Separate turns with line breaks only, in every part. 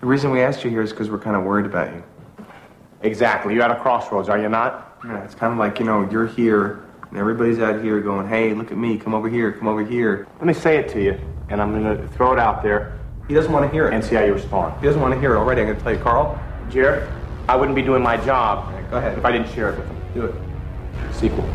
The reason we asked you here is because we're kind of worried about you.
Exactly. You're at a crossroads, are you not?
Yeah, it's kind of like, you know, you're here and everybody's out here going, hey, look at me, come over here, come over here.
Let me say it to you, and I'm going to throw it out there
He doesn't want to hear it.
and see how you respond.
he doesn't want to hear it already. I'm going to tell you, Carl,
Jared, I wouldn't be doing my job
go ahead.
if I didn't share it with him.
do it.
Sequel.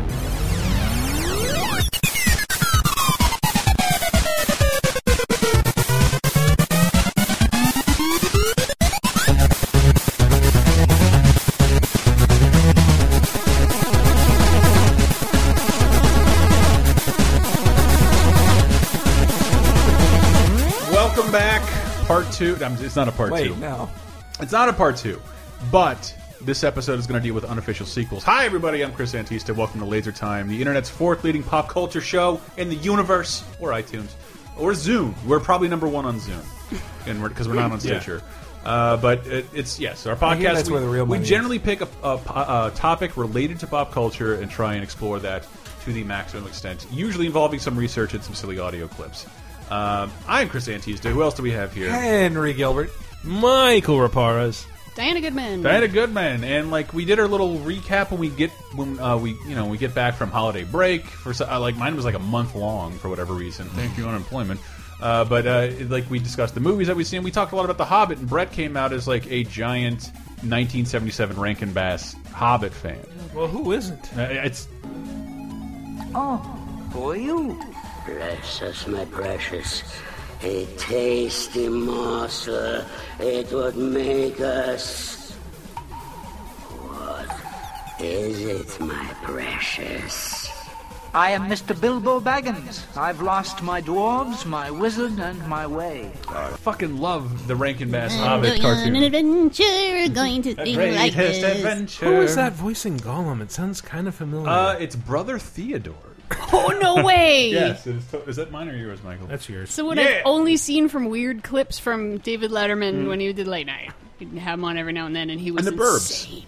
Welcome back, part two. I'm- It's not a part two.
Wait, no.
It's not a part two, but this episode is going to deal with unofficial sequels. Hi, everybody. I'm Chris Antista. Welcome to Laser Time, the internet's fourth leading pop culture show in the universe, or iTunes, or Zoom. We're probably number one on Zoom, and we're because we're not on
Yeah.
Stitcher. Uh, but it, it's yes, our
I hear
podcast.
that's
we,
where the real
we
money is.
generally pick a, a, po- a topic related to pop culture and try and explore that to the maximum extent, usually involving some research and some silly audio clips. Um, I'm Chris Antista. Who else do we have here?
Henry Gilbert.
Michael Raparas.
Diana Goodman.
Diana Goodman, and like we did our little recap when we get when uh, we you know we get back from holiday break for so- uh, like mine was like a month long for whatever reason. Thank you unemployment. Uh, but uh, it- like we discussed the movies that we've seen, we talked a lot about The Hobbit, and Brett came out as like a giant 1977 Rankin Bass Hobbit fan.
Well, who isn't?
Uh, it's
Bless us, my precious. A tasty morsel. It would make us. What is it, my precious?
I am Mr. Bilbo Baggins. I've lost my dwarves, my wizard, and my way.
I fucking love the Rankin Bass
Go
Hobbit
on an
cartoon.
adventure, we're going to thing like
Greatest
this.
adventure.
Who is that voicing Gollum? It sounds kind of familiar.
Uh, it's brother Theodore.
Oh no way!
Yes, it is, to- is that mine or yours, Michael?
That's yours.
So what
Yeah.
I've only seen from weird clips from David Letterman when he did late night. He'd have him on every now and then, and he was
And the Burbs.
insane.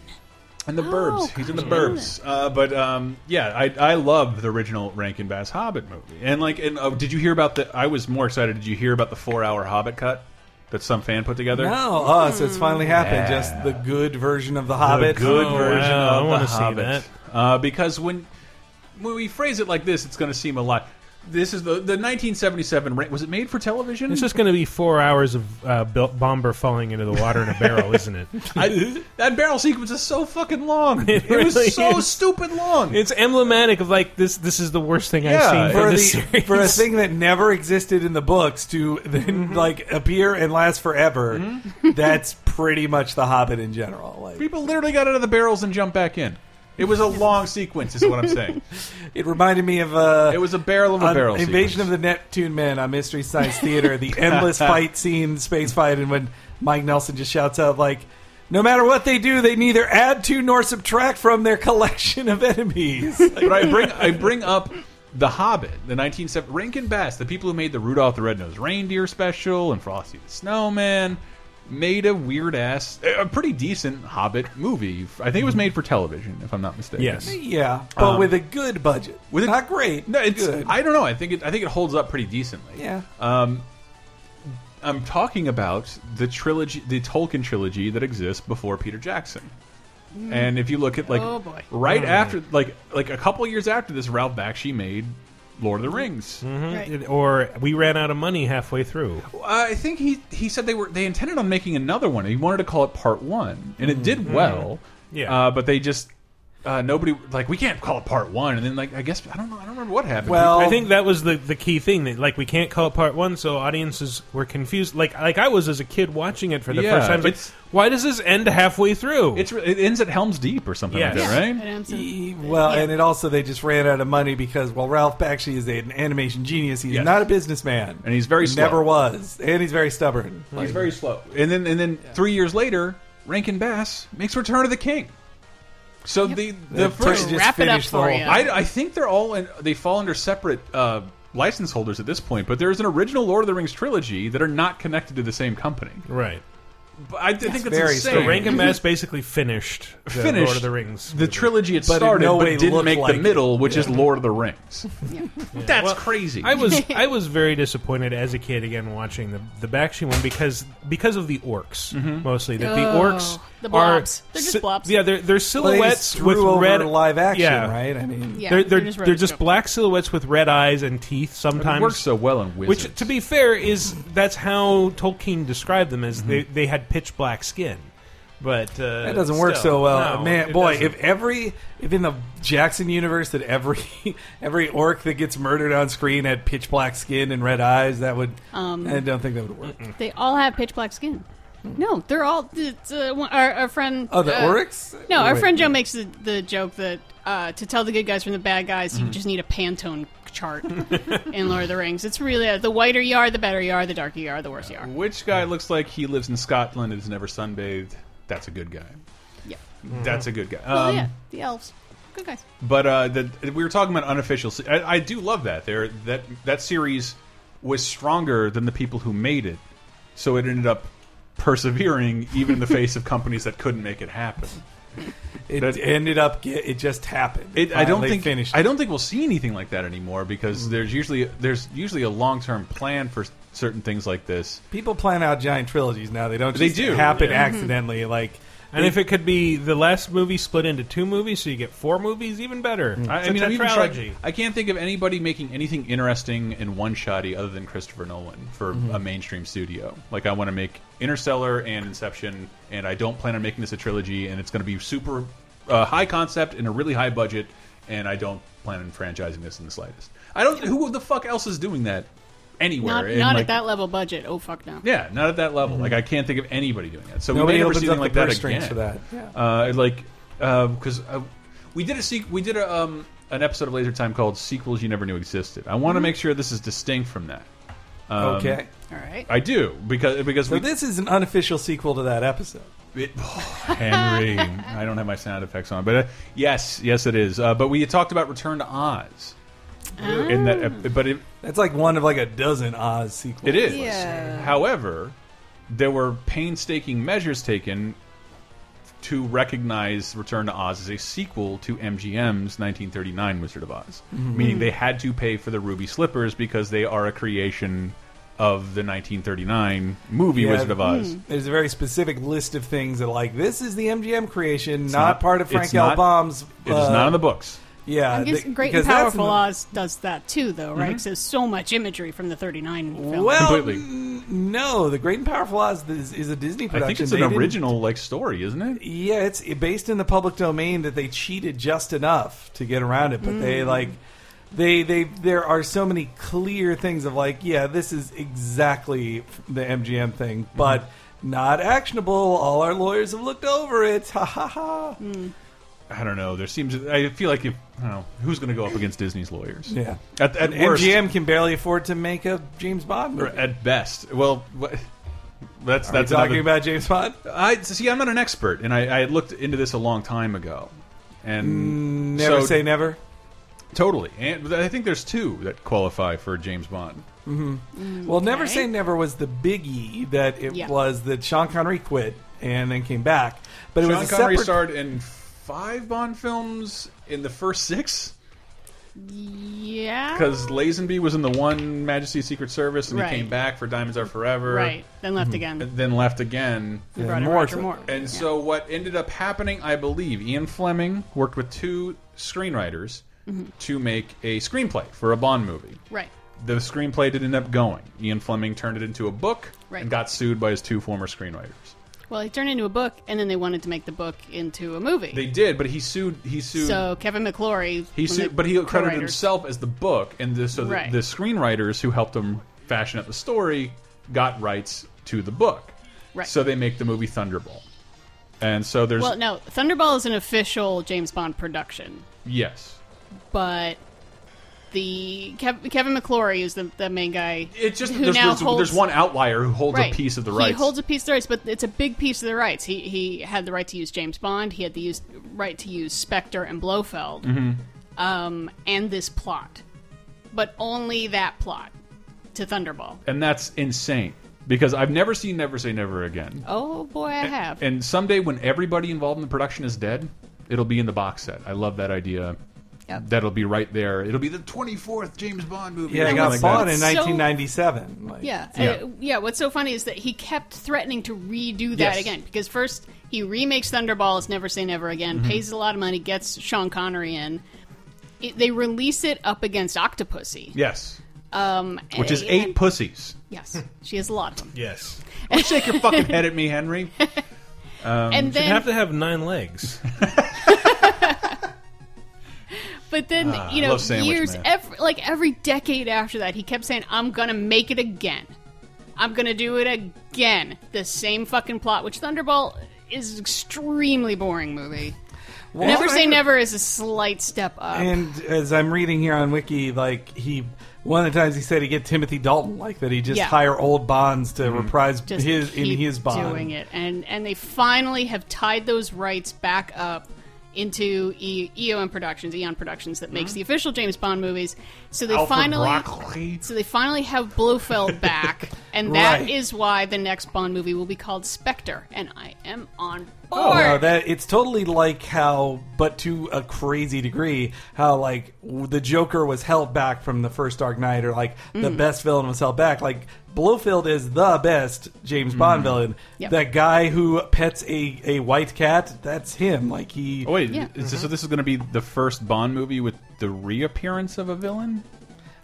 And the
Oh,
Burbs. He's in the
gotcha.
Burbs. Uh, but um, yeah, I I love the original Rankin Bass Hobbit movie. And like, and oh, did you hear about the? I was more excited. Did you hear about the four-hour Hobbit cut that some fan put together?
No, oh, so it's finally happened. Just the good version of the Hobbit.
The good
Oh,
version
wow,
of
I
the
wanna see
Hobbit.
that.
Uh, because when when we phrase it like this, it's going to seem a lot. This is the the 1977. Ra- Was it made for television?
It's just going to be four hours of uh, Bil- Bomber falling into the water in a barrel, isn't it?
I, that barrel sequence is so fucking long. It,
It really
was so
is.
stupid long.
It's emblematic of like this. This is the worst thing
Yeah.
for,
I've seen from
the,
this series.
for a thing that never existed in the books to then
Mm-hmm.
like appear and last forever, that's pretty much the Hobbit in general. Like
People literally got out of the barrels and jumped back in. It was a long sequence, is what I'm saying.
it reminded me of uh,
It was a barrel of a
on
barrel. sequence.
Invasion of the Neptune Men on Mystery Science Theater, the endless fight scene, space fight, and when Mike Nelson just shouts out like. No matter what they do, they neither add to nor subtract from their collection of enemies.
But I bring I bring up the Hobbit, the 1970 Rankin Bass, the people who made the Rudolph the Red-Nosed Reindeer special and Frosty the Snowman, made a weird ass, a pretty decent Hobbit movie. I think it was made for television, if I'm not mistaken.
yes.
yeah, but with a good budget.
Um, with a-
Not great.
No, it's
good.
I Uh, don't know. I think it, I think it holds up pretty decently.
yeah.
I'm talking about the trilogy, the Tolkien trilogy that exists before Peter Jackson. And if you look at like
Hmm. Oh, boy.
right after, like like a couple years after this, Ralph Bakshi made Lord of the Rings.
Right.
It- or we ran out of money halfway through.
I think he he said they were they intended on making another one. He wanted to call it Part One, and it did well.
Mm-hmm. Yeah.
uh, but they just. Uh, nobody like we can't call it part one, and then like I guess I don't know I don't remember what happened.
Well-
I think that was the, the key thing that like we can't call it part one, so audiences were confused. Like like I was as a kid watching it for the
Yeah,
first time. Like,
it's-
why does this end halfway through?
it's it ends at Helm's Deep or something like
Yes.
that,
And
right?
I'm so-
E- Well, and it also they just ran out of money because well, Ralph Bakshi is an animation genius. He's not a businessman,
And he's very
never
slow.
was, and he's very stubborn.
He's very slow. And then and then three years later, Rankin Bass makes Return of the King. So the the
That
first,
turkey just
Wrap it up
finished the
for
whole-
ya.
I, I think they're all in, they fall under separate uh, license holders at this point. But there is an original Lord of the Rings trilogy that are not connected to the same company.
right.
But I, I think that's
very
insane.
strange.
The Rankin Bass basically finished the
Finished
Lord of the Rings.
The trilogy it
But in
started,
no
but
way
didn't
looked
make
like
the
it.
middle, which is Lord of the Rings. That's
Well,
crazy.
I was I was very disappointed as a kid again watching the the Bakshi one because because of the orcs
Mm-hmm.
mostly that the
Oh,
orcs
the
are
blobs. They're just
si-
blobs.
yeah they're they're
Well, they
silhouettes
just drew
with
over
red
live action,
yeah.
right? I mean,
Yeah,
they're they're, they're,
rotoscoped.
just black silhouettes with red eyes and teeth sometimes
it works so well in Wizards.
Which, to be fair, is that's how Tolkien described them as they, they had pitch black skin, but uh,
Mm-hmm. That doesn't work so well, man. Boy,
if
if every if in the Jackson universe that every every orc that gets murdered on screen had pitch black skin and red eyes, that would I don't think that would work.
They all have pitch black skin. No, they're all. It's, uh, one- our, our friend.
Oh, the
uh,
orcs?
No, our
Wait.
friend Joe makes the, the joke that uh, to tell the good guys from the bad guys,
Mm-hmm.
you just need a Pantone chart in Lord of the Rings. It's really uh, the whiter you are, the better you are, the darker you are, the worse you are.
Which guy looks like he lives in Scotland and has never sunbathed? That's a good guy.
Yeah.
That's a good guy.
Oh
Um,
yeah, the elves, good guys.
But uh, the, we were talking about unofficial. se- I, I do love that. There, that that series was stronger than the people who made it, so it ended up persevering even in the face of companies that couldn't make it happen.
It
That-
ended up get, it just happened.
It, I don't
finally
think
finished. Mm.
I don't think we'll see anything like that anymore because there's usually there's usually a long term plan for s- certain things like this.
People plan out giant trilogies now. They don't.
They
just
do,
happen accidentally. Like
and if it could be the last movie split into two movies, so you get four movies, even
Mm.
better.
I,
Mm-hmm.
It's
I
a
mean, I'm even
tetralogy.
trying- I can't think of anybody making anything interesting in one shotty other than Christopher Nolan for
Mm-hmm.
a mainstream studio. Like, I want to make Interstellar and Inception, and I don't plan on making this a trilogy, and it's going to be super uh, high concept and a really high budget, and I don't plan on franchising this in the slightest. I don't. Who the fuck else is doing that anywhere?
Not
And,
not
like,
at that level budget. Oh fuck no.
Yeah, not at that level. Like, I can't think of anybody doing that. So we
Mm-hmm. nobody
may never
opens
see
up
anything like
the
that
purse strings
again
for that. Yeah.
uh, like because uh, we did a sequ- we did a, um, an episode of Laser Time called "Sequels You Never Knew Existed." I
Mm-hmm.
want to make sure this is distinct from that. Um,
okay.
All right.
I do because because
So
we
this is an unofficial sequel to that episode.
it- oh, Henry, I don't have my sound effects on, but uh, yes, yes, it is. Uh, but we talked about Return to Oz.
Oh.
In that, ep- but it,
That's like one of like a dozen Oz sequels.
It is.
Yeah.
However, there were painstaking measures taken to recognize Return to Oz as a sequel to MGM's 1939 Wizard of Oz,
Mm-hmm.
meaning they had to pay for the ruby slippers because they are a creation of the 1939 movie
Yeah.
Wizard of Oz.
There's a very specific list of things that like this is the MGM creation, not,
not-
part of Frank
it's
L.
not-
Baum's.
It is
Uh,
not in the books.
Yeah,
I guess
th-
Great and
because that's
Powerful
in the-
Oz does that too, though, right?
Mm-hmm.
'Cause there's so much imagery from the '39 film.
Well,
Completely.
n- no, the Great and Powerful Oz is, is a Disney
I
production.
think it's
They
an
didn't-
original like story, isn't it?
Yeah, it's based in the public domain that they cheated just enough to get around it, but
Hmm.
they like they they there are so many clear things of like, yeah, this is exactly the MGM thing,
Hmm.
but not actionable. All our lawyers have looked over it. Ha ha ha.
I don't know. There seems I feel like if I don't know who's going to go up against Disney's lawyers.
Yeah.
At, at worst,
MGM can barely afford to make a James Bond
or
movie.
at best. Well, wha- that's
Are we
that's
talking
another-
about James Bond?
I see. I'm not an expert, and I, I had looked into this a long time ago, and
Mm, Never
so-
say never.
totally. And I think there's two that qualify for James Bond.
Well, Never
Okay.
Say Never was the biggie that it
Yeah.
was that Sean Connery quit and then came back. But it
Sean
was a
Connery
separate...
starred in five Bond films in the first six
yeah.
because Lazenby was in the one Majesty's Secret Service, and
Ah. Right.
he came back for Diamonds Are Forever,
Right. Then left again.
Mm-hmm. and then left again.
They brought in
more
Roger
so.
Moore.
And
Yeah.
so what ended up happening, I believe, Ian Fleming worked with two screenwriters
Mm-hmm.
to make a screenplay for a Bond movie.
Right.
the screenplay didn't end up going. Ian Fleming turned it into a book
Right.
and got sued by his two former screenwriters.
Well, it turned into a book, and then they wanted to make the book into a movie.
They did, but he sued. He sued.
so Kevin McClory.
he sued, but he credited himself as the book, and the, so the,
Right.
the screenwriters who helped him fashion up the story got rights to the book.
Right.
So they make the movie Thunderball, and so there's
Well, no, Thunderball is an official James Bond production,
yes,
but the Kev- Kevin McClory is the, the main guy.
it's just that
who
there's,
now
there's,
holds,
there's one outlier who holds
right.
a piece of the
He
rights.
holds a piece of the rights, but it's a big piece of the rights. He he had the right to use James Bond. He had the use, right to use Spectre and Blofeld,
Mm-hmm.
um, and this plot, but only that plot to Thunderball.
and that's insane. because I've never seen Never Say Never Again.
Oh boy, I have.
And someday, when everybody involved in the production is dead, it'll be in the box set. I love that idea.
Yep.
That'll be right there. It'll be the 24th James Bond movie.
Yeah,
or
I
something
it
got
was
like
bought
that.
in
so-
1997. Like,
Yeah.
Yeah.
Uh, yeah. What's so funny is that he kept threatening to redo that
Yes.
again because first he remakes Thunderballs, Never Say Never Again,
Mm-hmm.
pays a lot of money, gets Sean Connery in. It, they release it up against Octopussy,
Yes,
um,
which is
and-
eight pussies.
Yes, she has a lot of them.
Yes.
Shake your fucking head at me, Henry.
and
You
then,
have to have nine legs.
but then you
Ah, I
know,
love Sandwich
years
Man.
every, like every decade after that, he kept saying, "I'm gonna make it again. I'm gonna do it again. The same fucking plot." Which Thunderball is an extremely boring movie.
well,
Never Say
I-
Never is a slight step up.
And as I'm reading here on Wiki, like he, one of the times he said he get Timothy Dalton, like that he just
Yeah.
hire old Bonds to
Mm-hmm.
reprise
just
his
keep
in his Bond.
doing it, and and they finally have tied those rights back up into e- EOM Productions, Eon Productions, that makes the official James Bond movies. So they finally, so they finally have Blofeld back, and that is
Right.
why the next Bond movie will be called Spectre, and I am on board.
Oh, No, that it's totally like how, but to a crazy degree, how like w- the Joker was held back from the first Dark Knight, or like the
Mm-hmm.
best villain was held back. Like Blofeld is the best James Bond villain.
Mm-hmm. Yep.
That guy who pets a a white cat, that's him. Like he.
Oh, wait,
Yeah. Mm-hmm.
is this, so this is going to be the first Bond movie with the reappearance of a villain?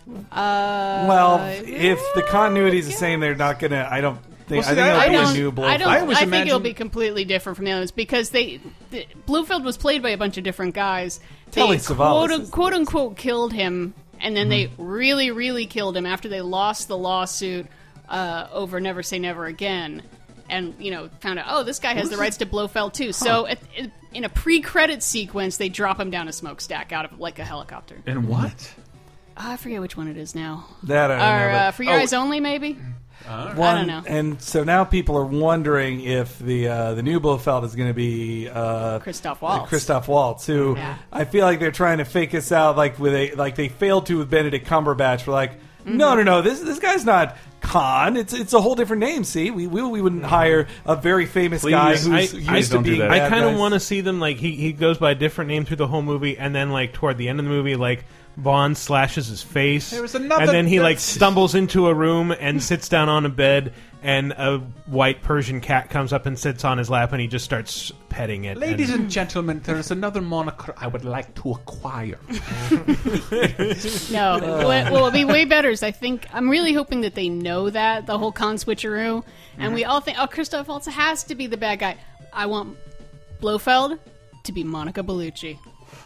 well,
Uh,
if the continuity
oh,
is the same, they're not gonna. I don't think.
see,
I think
I-
it'll
I
be
don't-
a new Blofeld.
I don't.
I
I,
always
think it'll
imagined-
be completely different from the others because they, the, Bluefield was played by a bunch of different guys.
Telly
they
Savalas Mm-hmm.
quote,
is-
quote unquote killed him, and then they really, really killed him after they lost the lawsuit uh, over Never Say Never Again. And you know, found out. Oh, this guy has the rights to Blofeld too. So, at, in- in a pre-credit sequence, they drop him down a smokestack out of like a helicopter.
And what?
Ah, I forget which one it is now.
That I don't know,
or
but- oh.
uh, for your eyes only, maybe.
one,
I don't know.
And so now people are wondering if the uh, the new Blofeld is going to be uh,
Christoph Waltz.
Christoph Waltz, who
Yeah.
I feel like they're trying to fake us out, like with a like they failed to with Benedict Cumberbatch. We're like,
Mm-hmm.
no, no, no, this this guy's not Khan. It's it's a whole different name. See, we we, we wouldn't hire a very famous
Please,
guy
I-
who's
I-
used to
don't do
being.
that.
I
bad
kind of
guys.
want to see them like he, he goes by a different name through the whole movie, and then like toward the end of the movie, like Bond slashes his face,
There was another-
and then he like stumbles into a room and sits down on a bed, and a white Persian cat comes up and sits on his lap, and he just starts petting it.
Ladies
and,
and gentlemen, there is another moniker I would like to acquire.
No, what will be way better is I think I'm really hoping that they know that the whole con switcheroo,
Mm-hmm.
and we all think, oh, Christoph Waltz has to be the bad guy. I want Blofeld to be Monica Bellucci,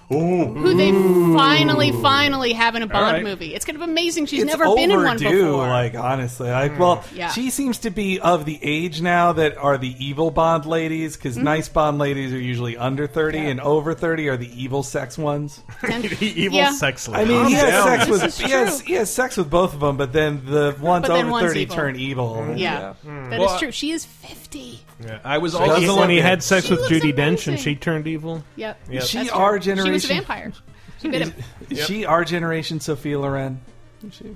who they finally, finally have in a Bond
right.
movie. It's kind of amazing. She's
it's
never
overdue,
been in one before.
Like honestly, like well,
Mm, Yeah.
she seems to be of the age now that are the evil Bond ladies because
Mm-hmm.
nice Bond ladies are usually under thirty, and over thirty are the evil sex ones.
And-
the evil
yeah.
sex
I
lady.
mean, he has
down.
sex with he has, he has sex with both of them, but then the ones
But then
over
one's
thirty
evil. Mm-hmm.
turn evil.
yeah, that is
Well, I-
true. She is 50.
I was
When he-
also
when he had sex
She
with
looks
Judy Dench,
amazing.
and she turned evil.
Yep.
Is
she
That's
our
true. She was
generation?
a vampire. She bit him.
Is she our generation Sophia Loren?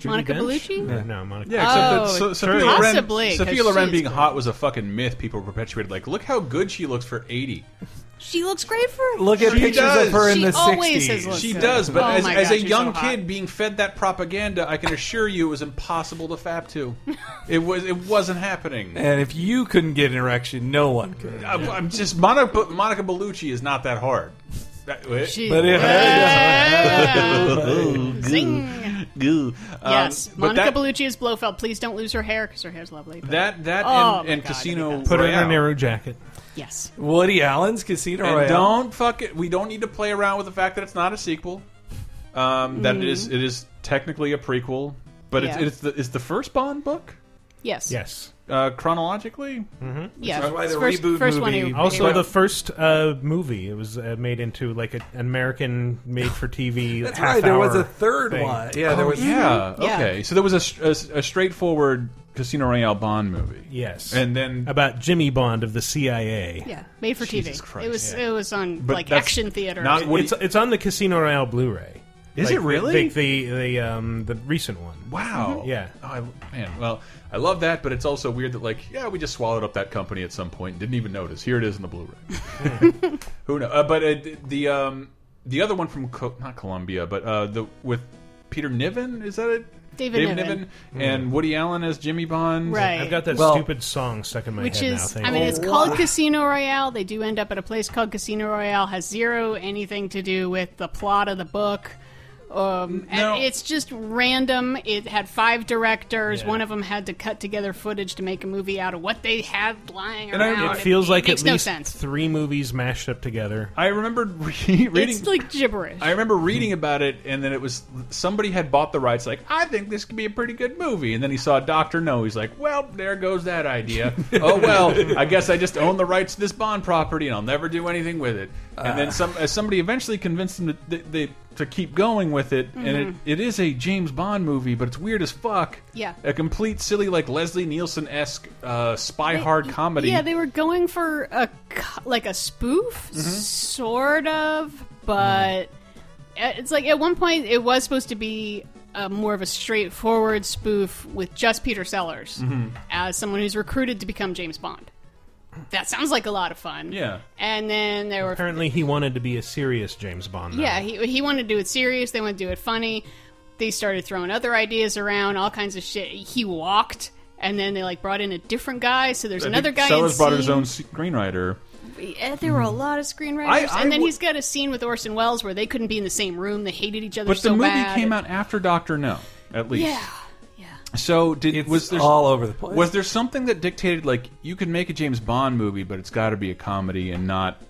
Monica
Dench?
Bellucci?
No, no, Monica.
Yeah, except that
Oh,
so, Sophia Loren,
possibly, 'cause
Sophia
she
Loren
is
being
good.
hot was a fucking myth people perpetuated. Like, look how good she looks for 80.
She looks great for her.
Look at
She
pictures
does.
of her in
She
the
always has
sixties.
looked-
She
good.
does, but
Oh
as,
my
as
God,
a
she's
young
so hot.
kid being fed that propaganda, I can assure you it was impossible to fap to. It was it wasn't happening.
And if you couldn't get an erection, no one could.
I, am just Monica, Monica Bellucci is not that hard. That- uh,
She-
But if-
Zing.
Goo. Um,
Yes,
but
Monica
that-
Bellucci is Blofeld. Please don't lose her hair because her hair's lovely. but-
That that
Oh
and,
my
and
God,
Casino
Put her in
Royale.
a narrow jacket.
yes,
Woody Allen's Casino
And
Royale.
don't fuck it. We don't need to play around with the fact that it's not a sequel. Um, that it is it is technically a prequel, but
Mm-hmm. Yeah.
it's it's the it's the first Bond book
yes,
Yes.
uh, chronologically.
Mm-hmm. yes.
That's why
It's
the
first,
reboot
first one
movie-
he-
Also,
he-
the first uh, movie it was uh, made into like a- an American made-for-TV.
That's right. There was a third
thing.
one. Yeah,
Oh,
there was.
Yeah.
Yeah.
Okay. So there was a, str- a s- a straightforward Casino Royale Bond movie.
Yes.
And then
about Jimmy Bond of the CIA.
yeah, made for
Jesus
TV.
Christ,
it was
yeah.
it was on
But
like
that's
action theater.
not
or
what
It's it's on the Casino Royale Blu-ray.
Is
Like
it really?
the the the, the, um, the recent one?
Wow.
Yeah.
Oh, I, man. Well, I love that, but it's also weird that like, yeah, we just swallowed up that company at some point and didn't even notice. Here it is in the Blu-ray. Who knows? Uh, but uh, th- the um, the other one from Co not Columbia, but uh, the with Peter Niven is that it?
David Niven.
and Woody Allen as Jimmy Bond.
Right.
I've got that
Well-
stupid song stuck in my
Which
head
is,
now.
I mean, it's called Casino Royale. They do end up at a place called Casino Royale. Has zero anything to do with the plot of the book. Um,
No.
and it's just random. It had five directors.
Yeah.
One of them had to cut together footage to make a movie out of what they had lying
And I-
around.
it feels like
makes
at
no
least
sense.
three movies mashed up together.
I remembered re reading.
It's like gibberish.
I remember reading about it, and then it was somebody had bought the rights. Like, I think this could be a pretty good movie. And then he saw Doctor No. He's like, Well, there goes that idea. oh well, I guess I just own the rights to this Bond property, and I'll never do anything with it. And
Ah.
then some uh, somebody eventually convinced him to they, they, to keep going with it. And it, it is a James Bond movie, but it's weird as fuck.
Mm-hmm. Yeah.
a complete silly like Leslie Nielsen esque uh, spy hard comedy.
Yeah, they were going for a co- like a spoof,
Mm-hmm.
sort of, but it's like at one point it was supposed to be uh, more of a straightforward spoof with just Peter Sellers
Mm-hmm.
as someone who's recruited to become James Bond. That sounds like a lot of fun.
yeah.
And then there were
Apparently, he wanted to be a serious James Bond. though.
yeah, he, he wanted to do it serious. They wanted to do it funny. They started throwing other ideas around, all kinds of shit. He walked, and then they like brought in a different guy. So there's
I
another
think
guy. in
Sellers brought his
scene.
own screenwriter.
Yeah, Eh, there were a lot of screenwriters,
Hmm. I- I
and then
would-
he's got a scene with Orson Welles where they couldn't be in the same room. They hated each other
But
so
the movie
bad.
came out after Doctor No, at least.
Yeah,
So did
It's
was there
all over the place.
Was there something that dictated like you could make a James Bond movie, but it's got to be a comedy and not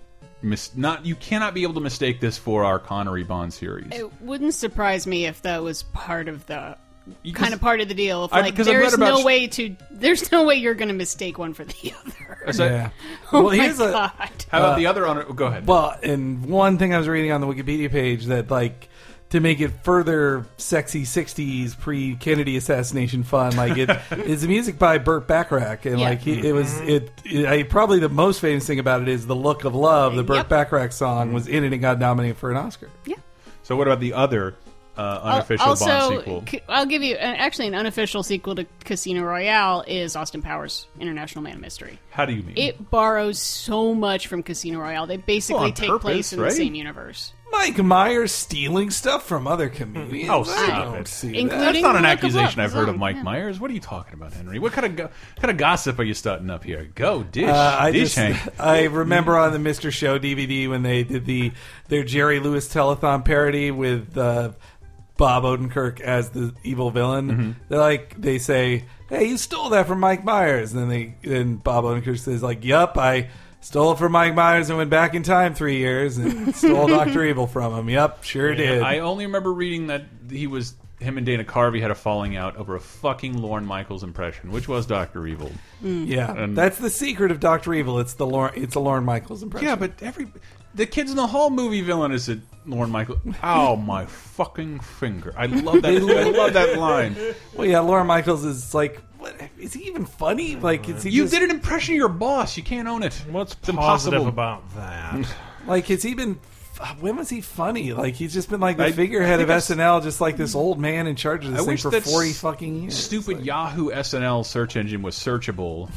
mis not you cannot be able to mistake this for our Connery Bond series?
it wouldn't surprise me if that was part of the
Because
kind of part of the deal. Of
I-
like,
because I've read
there's
about
no
sh-
way to, there's no way you're going to mistake one for the other.
so-
Yeah. Uh,
Oh
well,
my
here's a
God.
How about the other honor? Go ahead.
well, and one thing I was reading on the Wikipedia page that like to make it further sexy '60s pre-Kennedy assassination fun, like it is the music by Burt Bacharach, and
Yeah.
like he, it was
Mm-hmm.
it, it- I, probably the most famous thing about it is the "Look of Love," the Burt
Yep.
Bacharach song was in it and got nominated for an Oscar.
so what about the other uh, unofficial
also,
Bond sequel?
c- I'll give you an, actually an unofficial sequel to Casino Royale is Austin Powers International Man of Mystery.
How do you mean?
It borrows so much from Casino Royale. They basically
Well, on
take
purpose,
place in
right?
the same universe.
Mike Myers stealing stuff from other comedians.
Oh,
I
stop
don't
it.
see that.
Including
That's not an
Look of
accusation
Love,
I've heard of
Zone,
Mike
yeah.
Myers. What are you talking about, Henry? What kind of go kind of gossip are you starting up here? Go dish,
Uh, I
dish,
just
Hank.
I remember on the Mister Show DVD when they did the their Jerry Lewis telethon parody with uh, Bob Odenkirk as the evil villain.
Mm-hmm.
They're like they say, "Hey, you stole that from Mike Myers," and then they and Bob Odenkirk says, "Like, yup, I." Stole it from Mike Myers and went back in time three years and stole Doctor Evil from him. Yup, sure did.
I only remember reading that he was him and Dana Carvey had a falling out over a fucking Lorne Michaels impression, which was Doctor Evil.
yeah,
and-
that's the secret of Doctor Evil. It's the Lauren, it's a Lauren Michaels impression.
Yeah, but every the kids in the hall movie villain is a Lorne Michaels. Ow, my fucking finger! I love that. I love that line.
well, yeah, Lauren Michaels is like, what, is he even funny? Like, is he
You
just-
did an impression of your boss. You can't own it.
What's
It's
positive about that?
Like, has he been? f- When was he funny? Like, he's just been like the
I-
figurehead
I think
of
I s-
SNL, just like this old man in charge of this
I
thing
wish
for
that s-
forty fucking years.
Stupid Yahoo SNL search engine was searchable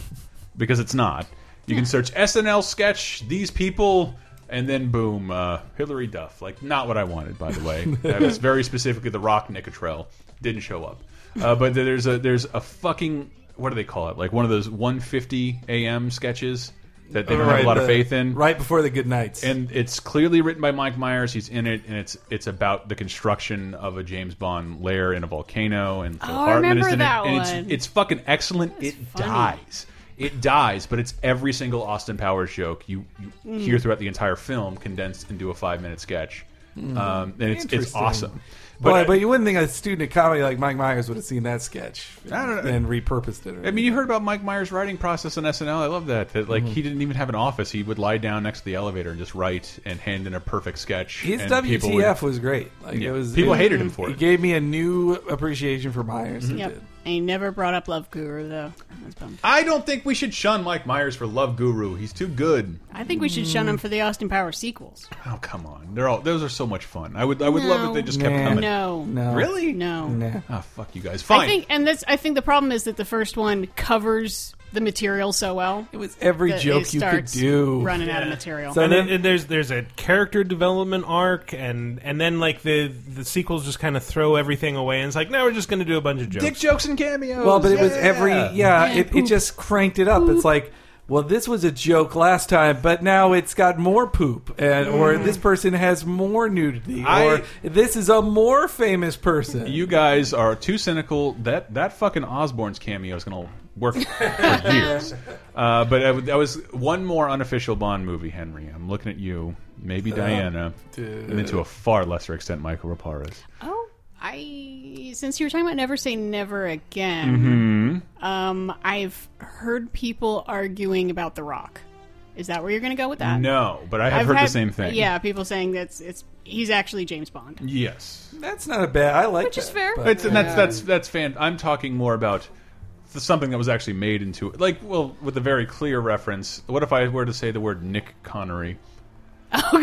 because it's not. You can search SNL sketch these people and then boom, uh, Hillary Duff. Like not what I wanted, by the way. that was very specifically the Rock Nicotrell didn't show up. Uh, but there's a there's a fucking what do they call it? Like one of those 150 a.m. sketches that they don't have a lot of
the-
faith in.
Right before the good nights,
And it's clearly written by Mike Myers. He's in it, and it's it's about the construction of a James Bond lair in a volcano. And Phil
Oh, I
Hartman
remember
is in
that
it. And it's,
one.
it's fucking excellent. it
funny.
dies. It dies, but it's every single Austin Powers joke you,
Hmm.
you hear throughout the entire film condensed into a five minute sketch. Um, and it's it's
Interesting.
awesome.
but, Hmm. but, you wouldn't think a student of comedy like Mike Myers would have seen that sketch
I don't know.
and repurposed it. or
I mean, you heard about Mike Myers' writing process on SNL. I love that. That
Mm-hmm.
like he didn't even have an office. He would lie down next to the elevator and just write and hand in a perfect sketch.
his
and people would-
WTF was great. Like
Yeah.
it was,
People
it-
hated him for
It
it.
gave me a new appreciation for Myers. It
Mm-hmm. Yep.
did.
And he never brought up Love Guru though. That's bummed.
I don't think we should shun Mike Myers for Love Guru. He's too good.
I think we should shun him for the Austin Power sequels.
Oh come on, they're all those are so much fun. I would I would love if they just kept
No.
coming.
No,
No.
Really?
no.
Ah, fuck you guys. Fine.
I think, and that's. I think the problem is that the first one covers the material so well.
It was every
that
joke
it
you could
starts
do.
running out of material.
So-
and then
then-
and there's there's a character development arc, and and then like the the sequels just kind of throw everything away, and it's like now we're just going to do a bunch of jokes.
Dick jokes and cameos.
Well, but it was
Yeah.
every yeah. it, it just cranked it up. It's like, well, this was a joke last time, but now it's got more poop, and or this person has more nudity,
Mm. I-
or this is a more famous person.
You guys are too cynical. That that fucking Osborne's cameo is gonna work for years. Uh, but I would- that was one more unofficial Bond movie, Henry. I'm looking at you, maybe Diana, and then to a far lesser extent, Michael Raparez.
oh, I since you were talking about Never Say Never Again,
Mm-hmm.
um, I've heard people arguing about The Rock. Is that where you're going to go with that?
No, but I have heard
Um, had-
the same thing.
Yeah, people saying that's it's he's actually James Bond.
Yes.
That's not a bad. I like
Which is
that,
fair.
but-
It's, and that's that's that's fan. I'm talking more about th- something that was actually made into like well with a very clear reference. What if I were to say the word Nick Connery?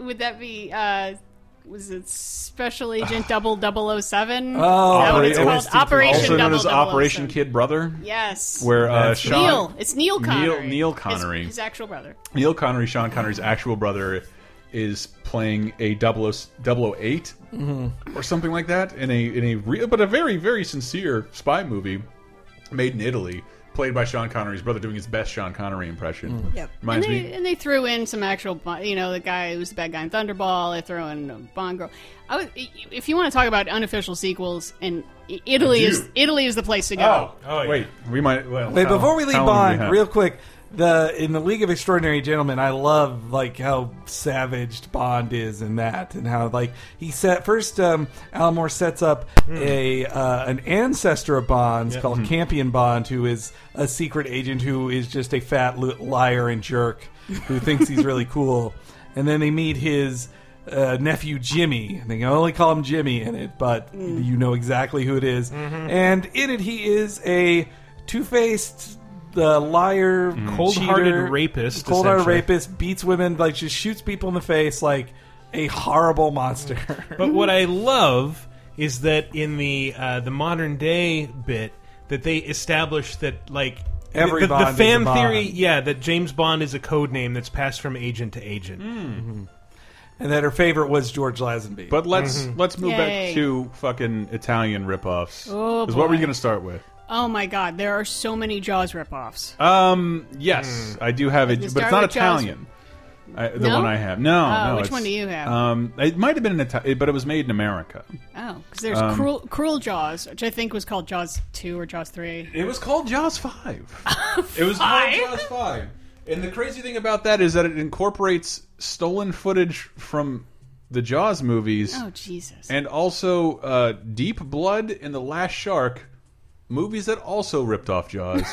Would that be uh was it Special Agent Double Double O Seven?
Oh,
Is that what it's
Operation-
called? Operation
also known as
007.
Operation Kid Brother.
Yes.
Where uh,
That's
Sean
Neil. It's Neil Connery.
Neil
His-
Connery.
His, actual brother.
Neil Connery, Sean Connery's actual brother, is playing a oh, 00, 008 or something like that in a in a real but a very very sincere spy movie made in Italy, played by Sean Connery's brother doing his best Sean Connery impression.
And
Reminds
they,
me.
and they threw in some actual, Bond- you know, the guy who's the bad guy in Thunderball. They threw in a Bond girl. I was, if you want to talk about unofficial sequels, and I-
I
Italy
do.
is Italy is the place to
Oh,
go.
Oh, yeah.
wait. We might. Well,
Wait,
how-
before we leave
how long do we
Bond,
have?
real quick, the in the League of Extraordinary Gentlemen, I love like how savaged Bond is in that, and how like he set first. Um, Alan Moore sets up a uh, an ancestor of Bond's called Campion Bond, who is a secret agent who is just a fat li- liar and jerk who thinks he's really cool, and then they meet his. Uh, nephew Jimmy. And they can only call him Jimmy in it, but you know exactly who it is. And in it, he is a two faced the liar,
Mm-hmm.
Cold-hearted
cheater,
rapist,
cold-hearted
essentially.
rapist, beats women, like just shoots people in the face, like a horrible monster.
But what I love is that in the uh, the modern day bit that they establish that like
Every
the, the,
Bond is a
fan
Bond.
theory, yeah, that James Bond is a code name that's passed from agent to agent.
and that her favorite was George Lazenby.
But let's let's move back
Yay.
to fucking Italian ripoffs.
Oh,
Because what were you
boy.
going to start with?
Oh my God, there are so many Jaws ripoffs.
Um, yes, I do have it,
You
but it's
start
not
with Jaws.
Italian. I, the
No?
one I have. No,
Oh,
no.
which
it's-
one do you have?
Um, it might have been an Italian, but it was made in America.
oh, because there's
Um,
cruel, cruel Jaws, which I think was called Jaws two or Jaws three.
It was called Jaws Five. it was called Jaws Five. And the crazy thing about that is that it incorporates stolen footage from the Jaws movies,
Oh Jesus!
and also uh, Deep Blood and The Last Shark, movies that also ripped off Jaws.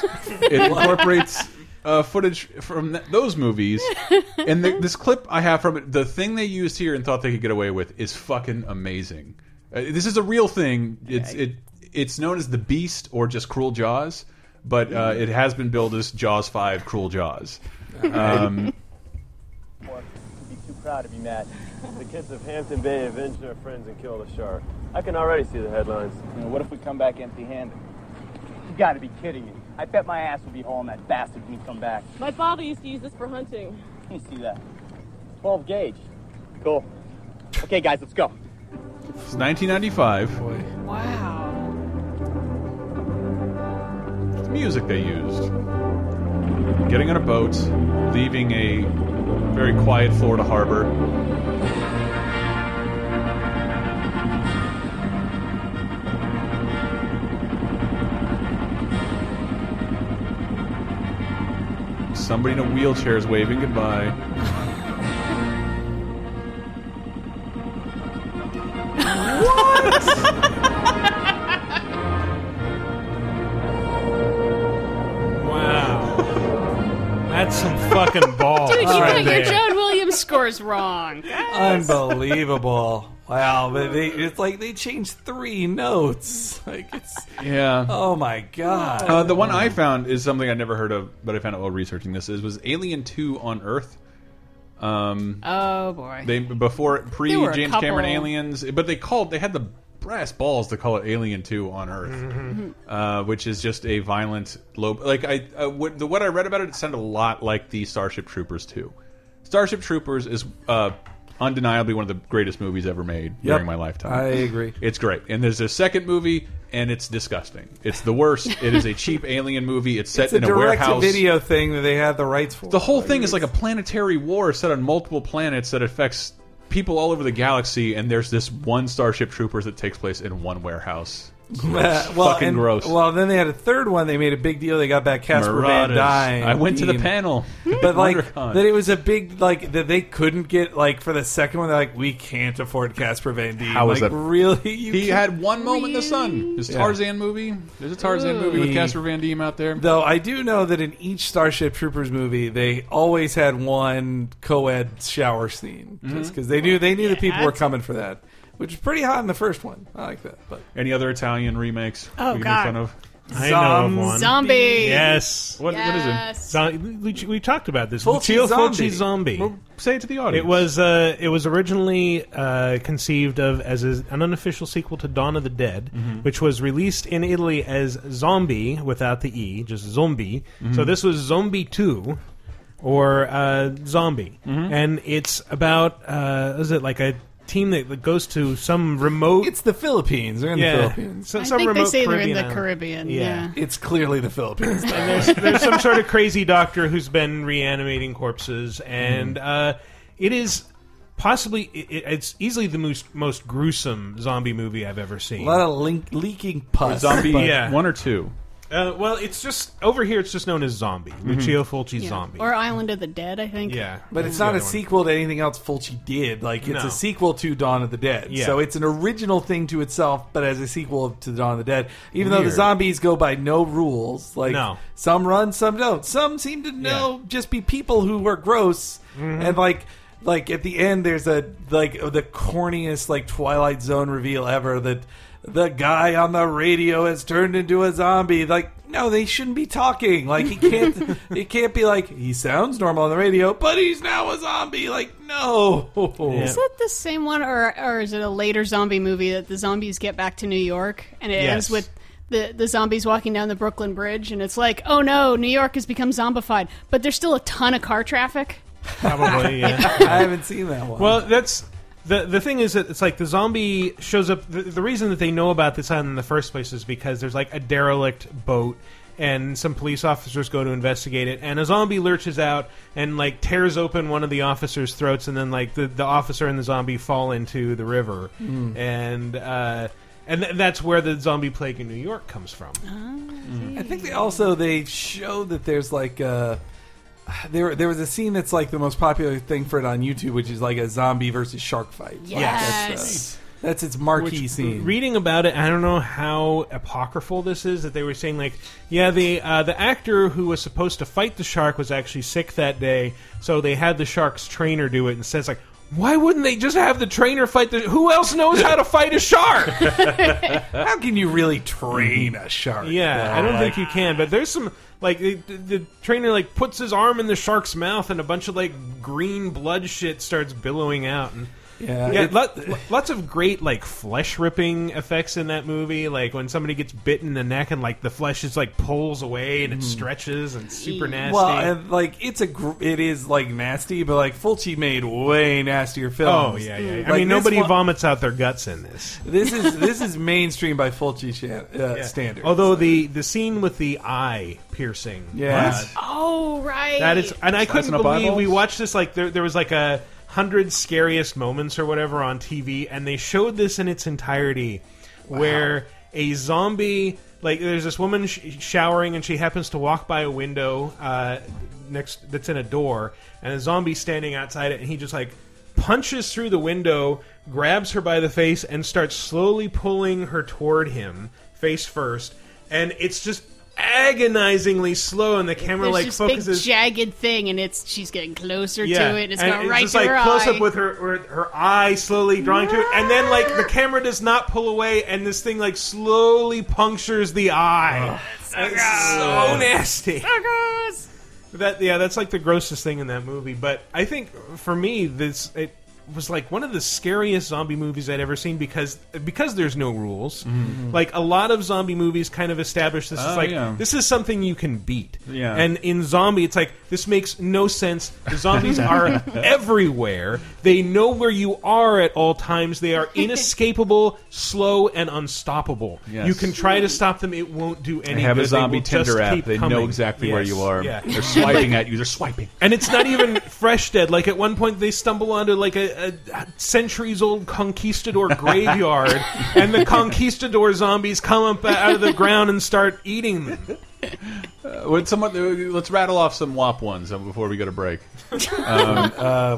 it incorporates uh, footage from th those movies, and the, this clip I have from it, the thing they used here and thought they could get away with is fucking amazing. Uh, this is a real thing. It's it it's known as the Beast or just Cruel Jaws, but uh, it has been billed as Jaws Five: Cruel Jaws. Um,
You'd be too proud to be mad. The kids of Hampton Bay avenge their friends and kill the shark. I can already see the headlines.
what if we come back empty-handed? You gotta be kidding me. I bet my ass will be hauling that bastard when we come back.
My father used to use this for hunting.
You see that? 12 gauge. Cool. Okay, guys, let's go.
it's 1995.
wow.
the music they used. Getting on a boat, leaving a very quiet Florida harbor. Somebody in a wheelchair is waving goodbye.
Wow, that's some fucking balls
Dude, you
right
got your
there.
John Williams scores wrong.
Unbelievable. Wow, but they, it's like they changed three notes. Like it's
Yeah.
Oh my god.
Uh, the one I found is something I never heard of, but I found out while researching this. Is was Alien Two on Earth? Um,
Oh, boy.
They before pre
There were a
James
couple.
Cameron Aliens, but they called they had the brass balls to call it Alien Two on Earth,
Mm-hmm.
Mhm.
uh, which is just a violent low. Like I uh, what, the what I read about it, it sounded a lot like the Starship Troopers Two. Starship Troopers is uh, undeniably one of the greatest movies ever made
Yep.
during my lifetime.
I agree.
It's great. And there's a second movie, and it's disgusting. It's the worst. it is a cheap alien movie. It's set
it's a
in a
direct
warehouse.
video thing that they had the rights for.
The whole thing is like a planetary war set on multiple planets that affects people all over the galaxy, and there's this one Starship Troopers that takes place in one warehouse. Gross.
Uh, well,
Fucking
and-
gross.
Well, then they had a third one. They made a big deal. They got back Casper
Marauders.
Van Dyne.
I went to the
Ian. Hmm.
panel at
but like
WonderCon.
that, it was a big like that they couldn't get like for the second one. They're like, we can't afford Casper Van Dyne.
How
like,
is that-
Really, you
He
can't-
had one moment in the sun. His
Yeah.
Tarzan movie. There's a Tarzan movie with
Ooh.
Casper Van Diem out there.
Though I do know that in each Starship Troopers movie, they always had one co-ed shower scene, just
Mm-hmm.
Mhm.
because they knew they knew the people were
had to.
coming for that, which is pretty hot in the first one. I like that. But
Any other Italian remakes?
Oh,
we can
God.
Make fun of?
I know of one.
Zombie.
Yes.
What,
Yes.
what is it? Zo- we, we- we talked about this.
Fulci
Lucio
Zombie.
Fulci Zombie.
Well,
say it to the audience.
It was uh, it was originally uh, conceived of as a, an unofficial sequel to Dawn of the Dead,
Mhm.
which was released in Italy as Zombie without the e, just Zombie.
Mhm.
So this was Zombie Two, or uh, Zombie,
Mhm.
and it's about uh, what is it like a team that that goes to some remote?
It's the Philippines. They're in the
yeah.
Philippines.
So-
I
some
think they
remote
say they're in the
island.
Caribbean, yeah.
it's clearly the Philippines.
and there's, there's some sort of crazy doctor who's been reanimating corpses,
Hmm.
and uh, it is possibly it, it- it's easily the most most gruesome zombie movie I've ever
a
seen.
lot of link, leaking pus.
Zombie
but-
Yeah.
one or two.
Uh, well, it's just over here. It's just known as Zombie, Lucio Fulci
Yeah.
Zombie.
Or uh, Island of the Dead, I think.
Yeah,
Mm-hmm. But
that's
it's
the
not a
other one.
sequel to anything else Fulci did. Like it's
No.
a sequel to Dawn of the Dead.
Yeah.
So it's an original thing to itself, but as a sequel to Dawn of the Dead. Even though the
Weird.
zombies go by no rules, like
No.
some run, some don't. Some seem to know just be people who were gross and like. Like at the end, there's a like the corniest like Twilight Zone reveal ever that the guy on the radio has turned into a zombie. Like no, they shouldn't be talking. Like he can't. it can't be like he sounds normal on the radio, but he's now a zombie. Like no.
Is that the same one, or or is it a later zombie movie that the zombies get back to New York and it ends
Yes.
with the the zombies walking down the Brooklyn Bridge and it's like, oh no, New York has become zombified, but there's still a ton of car traffic.
Probably, yeah.
I haven't seen that one.
Well, that's the the thing is that it's like the zombie shows up. The, the reason that they know about this island in the first place is because there's like a derelict boat, and some police officers go to investigate it, and a zombie lurches out and like tears open one of the officers' throats, and then like the the officer and the zombie fall into the river,
Mm.
and. uh and th- that's where the zombie plague in New York comes from.
I think they also they show that there's like a there there was a scene that's like the most popular thing for it on YouTube, which is like a zombie versus shark fight. Like,
Yes.
that's, uh, that's its marquee
Which,
scene.
Reading about it, I don't know how apocryphal this is that they were saying like, yeah, the uh, the actor who was supposed to fight the shark was actually sick that day, so they had the shark's trainer do it and says like. Why wouldn't they just have the trainer fight the? Who else knows how to fight a shark?
How can you really train a shark?
Mm-hmm. Yeah,
though?
I don't
Like,
think you can. But there's some like the, the, the trainer like puts his arm in the shark's mouth and a bunch of like green blood shit starts billowing out. And
Yeah,
yeah,
it-
lot, lo- lots of great like flesh ripping effects in that movie. Like when somebody gets bitten in the neck and like the flesh is like pulls away and it stretches and super
Mm-hmm.
nasty.
Well, and, like it's a gr- it is like nasty, but like Fulci made way nastier films.
oh yeah,
Mm.
yeah. yeah. I
Mm. Like,
mean,
this
nobody
one-
vomits out their guts in this.
This is this is mainstream by Fulci shan- uh,
Yeah. Oh,
standard.
Although the the scene with the eye piercing,
Yeah.
uh,
Oh right,
That is, and I
Slicing
couldn't
up
believe
eyeballs?
we watched this. Like there, there was like a hundred scariest moments or whatever on TV, and they showed this in its entirety, where a zombie, like there's this woman sh- showering, and she happens to walk by a window uh, next that's in a door, and a zombie standing outside it, and he just like punches through the window, grabs her by the face, and starts slowly pulling her toward him, face first, and it's just agonizingly slow, and the camera
There's
like
this
focuses.
big jagged thing, and it's she's getting closer
yeah,
to it. It's
and
going
it's
right
just
to
like
her
close
eye.
up with her, her her eye slowly drawing to it, and then like the camera does not pull away, and this thing like slowly punctures the eye. And it's so nasty.
Oh,
That yeah, that's like the grossest thing in that movie. But I think for me, this it was like one of the scariest zombie movies I'd ever seen because because there's no rules.
Mhm.
Like a lot of zombie movies kind of establish this
Oh,
is like
yeah.
this is something you can beat.
Yeah.
And in zombie, it's like this makes no sense. The zombies are everywhere. They know where you are at all times. They are inescapable, slow, and unstoppable.
Yes.
You can try to stop them; it won't do anything.
They have a zombie Tinder app. They know exactly where you are. They're swiping at you. They're swiping.
And it's not even fresh dead. Like at one point, they stumble onto like a, a centuries old conquistador graveyard, and the conquistador zombies come up out of the ground and start eating them.
Uh, would someone, uh, let's rattle off some WAP ones um, before we go to break. Um,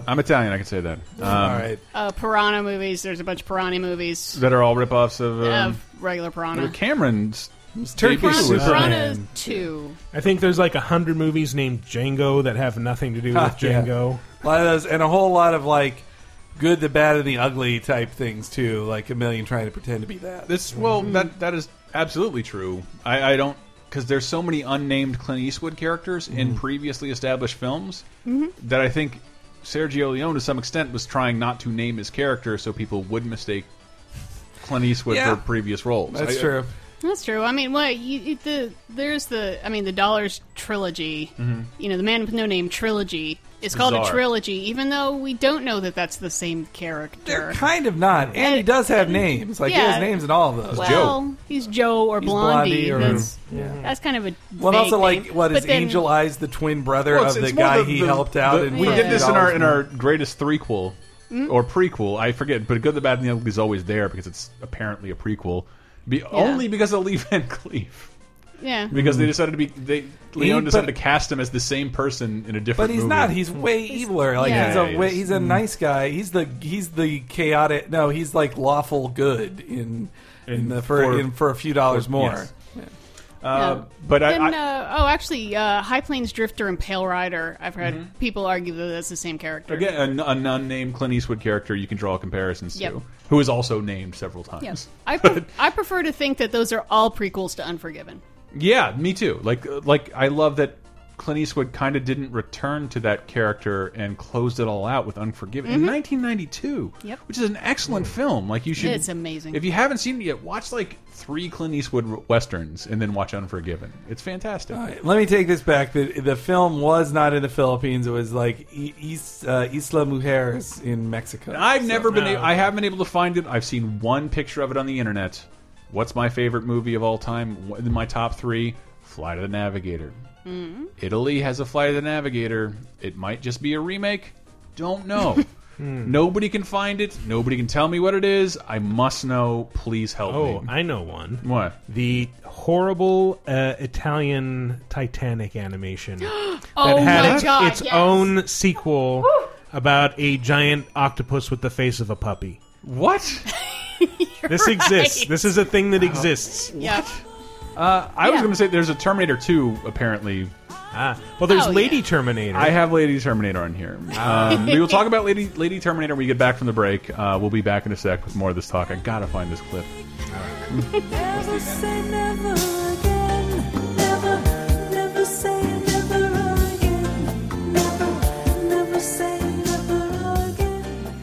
I'm Italian. I can say that. Um,
all Uh, piranha movies. There's a bunch of piranha movies
That are all ripoffs of. Um,
of regular piranha.
Cameron's
Turkish
debut was-
Superman.
Piranha two.
I think there's like a hundred movies named Django that have nothing to do with
Yeah.
Django.
A lot of those, and a whole lot of like good, the bad, and the ugly type things too. Like a million trying to pretend to be that.
This well, that that is absolutely true. I, I don't because there's so many unnamed Clint Eastwood characters in
Mhm.
previously established films
Mhm.
that I think Sergio Leone to some extent was trying not to name his character so people would mistake Clint Eastwood
Yeah.
for previous roles.
That's
uh,
I-
true.
That's true. I mean, what you, you- the there's the I mean the Dollars trilogy.
Mhm.
You know, the Man with No Name trilogy. It's called a
Mm-hmm. Bizarre.
trilogy, even though we don't know that that's the same character.
Kind of not, and he does have names. Like he has
Yeah.
names in all of those.
well, he's Joe or
He's
Blondie.
Blondie or-
that's,
yeah.
that's kind of a
Well, and
vague
also like
name.
what is
But then-
Angel Eyes, the twin brother
Well, it's-
of the
it's more
guy he helped out?
the-
in
we did this in our in our greatest threequel
Hmm?
Mm.
or prequel. I forget, but Good, the Bad, and the Ugly is always there because it's apparently a prequel. Be, Only because of Lee Van Cleef.
Yeah.
Uh,
Because they decided to be they
Hmm. He-
Leon
but-
decided to cast him as the same person in a different.
But he's
movie.
not. He's way eviler. Like
Yeah,
he's
he
a way,
is.
he's a
Mm.
nice guy. He's the he's the chaotic. No, he's like lawful good in in, the for
for-
in, for a few dollars
for-
more.
yes.
Yeah.
Uh, But I,
then,
I
uh, oh, actually, uh, High Plains Drifter and Pale Rider. I've heard
Mhm.
Mm-hmm.
people argue that that's the same character.
again a, a unnamed Clint Eastwood character you can draw comparisons
Yep.
to, who is also named several times.
Yes, I pre- I prefer to think that those are all prequels to Unforgiven.
Yeah, me too. Like uh, like I love that Clint Eastwood kind of didn't return to that character and closed it all out with Unforgiven in
Mhm.
1992,
Yep.
which is an excellent
Mm.
film. Like you should
It's amazing.
If you haven't seen it yet, watch like 3 Clint Eastwood westerns and then watch Unforgiven. It's fantastic.
Let me take this back. The the film was not in the Philippines. It was like I- Is, uh, Isla Mujeres in Mexico.
I've
So-
never been. a- I haven't been able to find it. I've seen one picture of it on the internet. What's my favorite movie of all time? What- My top three: Flight of the Navigator.
Mhm.
Italy has a Flight of the Navigator. It might just be a remake. Don't know. Nobody can find it. Nobody can tell me what it is. I must know. Please help
Oh,
me.
I know one.
What?
The horrible uh, Italian Titanic animation that
Oh
had
my
its,
God,
its
yes.
own sequel about a giant octopus with the face of a puppy.
What?
this
right.
exists. This is a thing that exists.
Yeah.
Uh, I was
Yeah.
going to say there's a Terminator 2 apparently.
Ah, well, there's Oh, Lady Terminator.
I have Lady Terminator on here. Um, we will talk about Lady Lady Terminator when we get back from the break. Uh, we'll be back in a sec with more of this talk. I gotta find this clip.
Never say never again. Never, never say never again. Never, never say never again.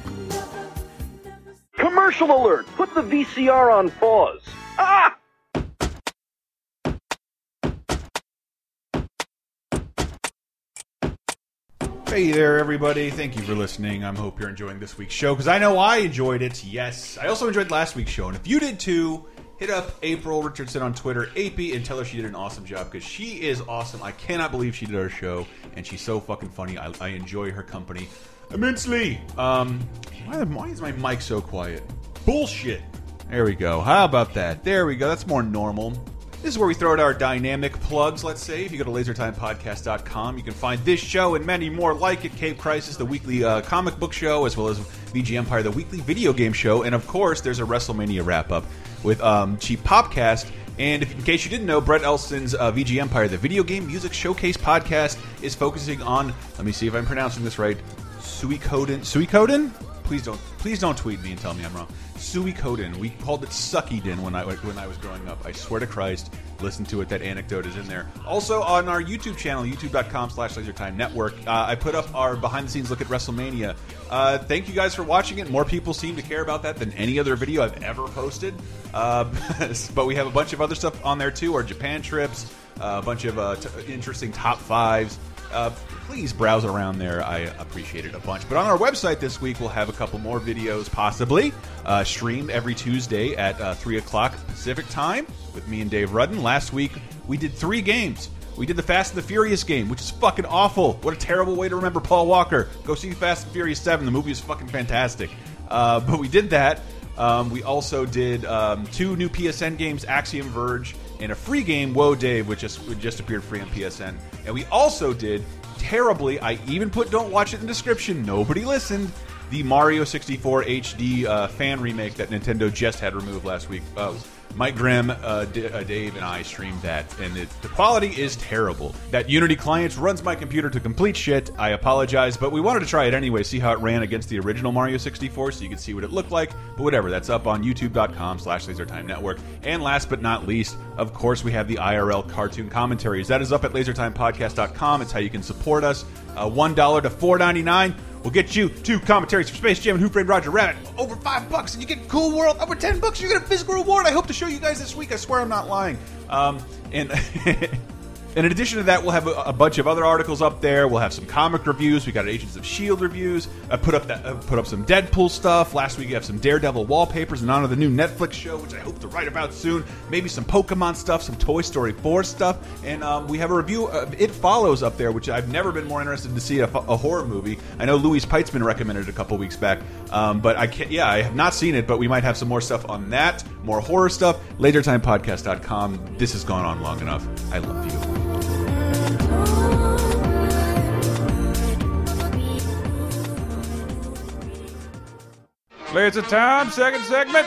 Commercial alert! Put the VCR on pause. Ah!
Hey there, everybody. Thank you for listening. I hope you're enjoying this week's show because I know I enjoyed it. Yes. I also enjoyed last week's show. And if you did too, hit up April Richardson on Twitter, AP, and tell her she did an awesome job because she is awesome. I cannot believe she did our show. And she's so fucking funny. I, I enjoy her company immensely. Um, why, the- why is my mic so quiet? Bullshit. There we go. How about that? There we go. That's more normal. This is where we throw out our dynamic plugs, let's say. If you go to lasertimepodcast.com, you can find this show and many more like it Cape Crisis, the weekly uh, comic book show, as well as VG Empire, the weekly video game show. And of course, there's a WrestleMania wrap up with um, Cheap Popcast And if, in case you didn't know, Brett Elston's uh, VG Empire, the video game music showcase podcast, is focusing on. Let me see if I'm pronouncing this right. Suikoden. Suikoden. Please don't. Please don't tweet me and tell me I'm wrong. Suikoden. We called it Suckydin when I when I was growing up. I swear to Christ, listen to it. That anecdote is in there. Also on our YouTube channel, YouTube.com/slash LaserTime Network, uh, I put up our behind-the-scenes look at WrestleMania. Uh, thank you guys for watching it. More people seem to care about that than any other video I've ever posted. Uh, but we have a bunch of other stuff on there too. Our Japan trips, uh, a bunch of uh, t interesting top fives. Uh, please browse around there. I appreciate it a bunch. But on our website this week, we'll have a couple more videos, possibly uh, streamed every Tuesday at uh, three o'clock Pacific time with me and Dave Rudden. Last week we did three games. We did the Fast and the Furious game, which is fucking awful. What a terrible way to remember Paul Walker. Go see Fast and Furious Seven. The movie is fucking fantastic. Uh, but we did that. Um, we also did um, two new PSN games, Axiom Verge, and a free game, Whoa Dave, which just which just appeared free on PSN. And we also did terribly. I even put "Don't watch it" in the description. Nobody listened. The Mario 64 HD uh, fan remake that Nintendo just had removed last week. Uh, Mike Grimm, uh, D uh, Dave, and I streamed that, and it, the quality is terrible. That Unity client runs my computer to complete shit. I apologize, but we wanted to try it anyway, see how it ran against the original Mario 64, so you could see what it looked like. But whatever, that's up on youtube.com slash lasertime network. And last but not least, of course, we have the IRL cartoon commentaries. That is up at lasertimepodcast.com. It's how you can support us. Uh, $1 to $4.99 will get you two commentaries for Space Jam and Who Framed Roger Rabbit. Over five bucks, and you get Cool World. Over ten bucks, you get a physical reward. I hope to show you guys this week. I swear I'm not lying. Um, and. and in addition to that, we'll have a, a bunch of other articles up there. We'll have some comic reviews. We got Agents of Shield E reviews. I put up that uh, put up some Deadpool stuff. Last week, you have some Daredevil wallpapers in honor of the new Netflix show, which I hope to write about soon. Maybe some Pokemon stuff, some Toy Story 4 stuff, and um, we have a review of It Follows up there, which I've never been more interested to see a, fo- a horror movie. I know Louise Peitzman recommended it a couple weeks back, um, but I can't. Yeah, I have not seen it, but we might have some more stuff on that, more horror stuff. LaserTimePodcast.com. This has gone on long enough. I love you.
Laser time, second segment.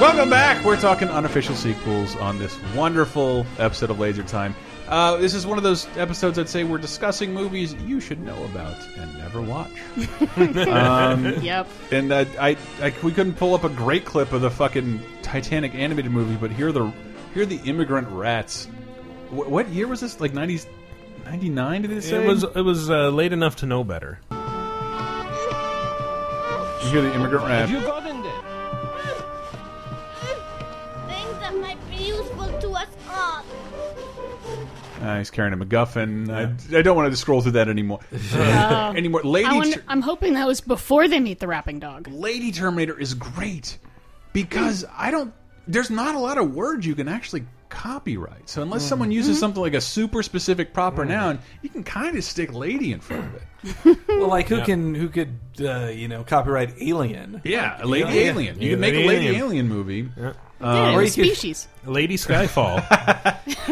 Welcome back. We're talking unofficial sequels on this wonderful episode of Laser Time. Uh, this is one of those episodes I'd say we're discussing movies you should know about and never watch.
Yep.
And uh, I, I, we couldn't pull up a great clip of the fucking Titanic animated movie, but here are the here are the immigrant rats. Wh what year was this? Like 90s, 99? Did it say?
It was it was uh, late enough to know better.
You hear the immigrant rat.
got
in there? Things that might be useful to us all.
Uh, he's carrying a MacGuffin. I, I don't want to scroll through that anymore.
Uh,
anymore.
I
Lady
wonder- I'm hoping that was before they meet the rapping dog.
Lady Terminator is great because I don't. There's not a lot of words you can actually copyright. So unless someone uses something like a super specific proper noun, you can kind of stick "lady" in front of it.
well, like who
Yeah.
can who could uh, you know copyright Alien?
Yeah, a Lady
Yeah.
Alien. You
Yeah,
could make
Lady
a Lady
Alien.
Alien, movie.
Yeah,
or you could-
species.
Lady Skyfall.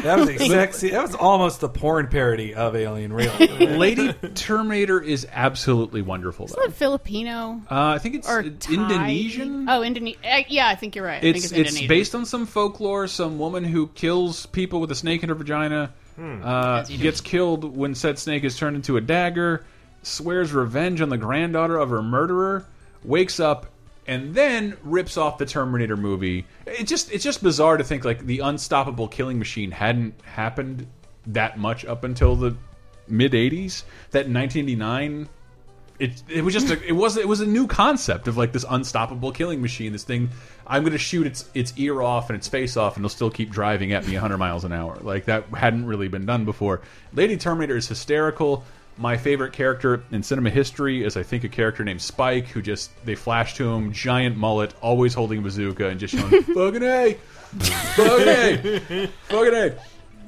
that was exactly that was almost the porn parody of Alien Real.
Lady Terminator is absolutely wonderful, though.
Isn't it Filipino
Uh, I think it's
or
it's
Thai?
Indonesian.
Oh, Indonesian. yeah, I think you're right. I think
It's
it's
it's
Indonesian.
based on some folklore. Some woman who kills people with a snake in her vagina
Hmm.
uh, gets killed when said snake is turned into a dagger. Swears revenge on the granddaughter of her murderer. Wakes up and then rips off the Terminator movie. It just it's just bizarre to think like the unstoppable killing machine hadn't happened that much up until the mid '80s. That 1989 it it was just a, it was it was a new concept of like this unstoppable killing machine. This thing, I'm going to shoot its its ear off and its face off, and it'll still keep driving at me 100 miles an hour. Like that hadn't really been done before. Lady Terminator is hysterical. My favorite character in cinema history is, I think, a character named Spike, who just they flash to him, giant mullet, always holding a bazooka, and just showing fucking a, fucking a, fucking a.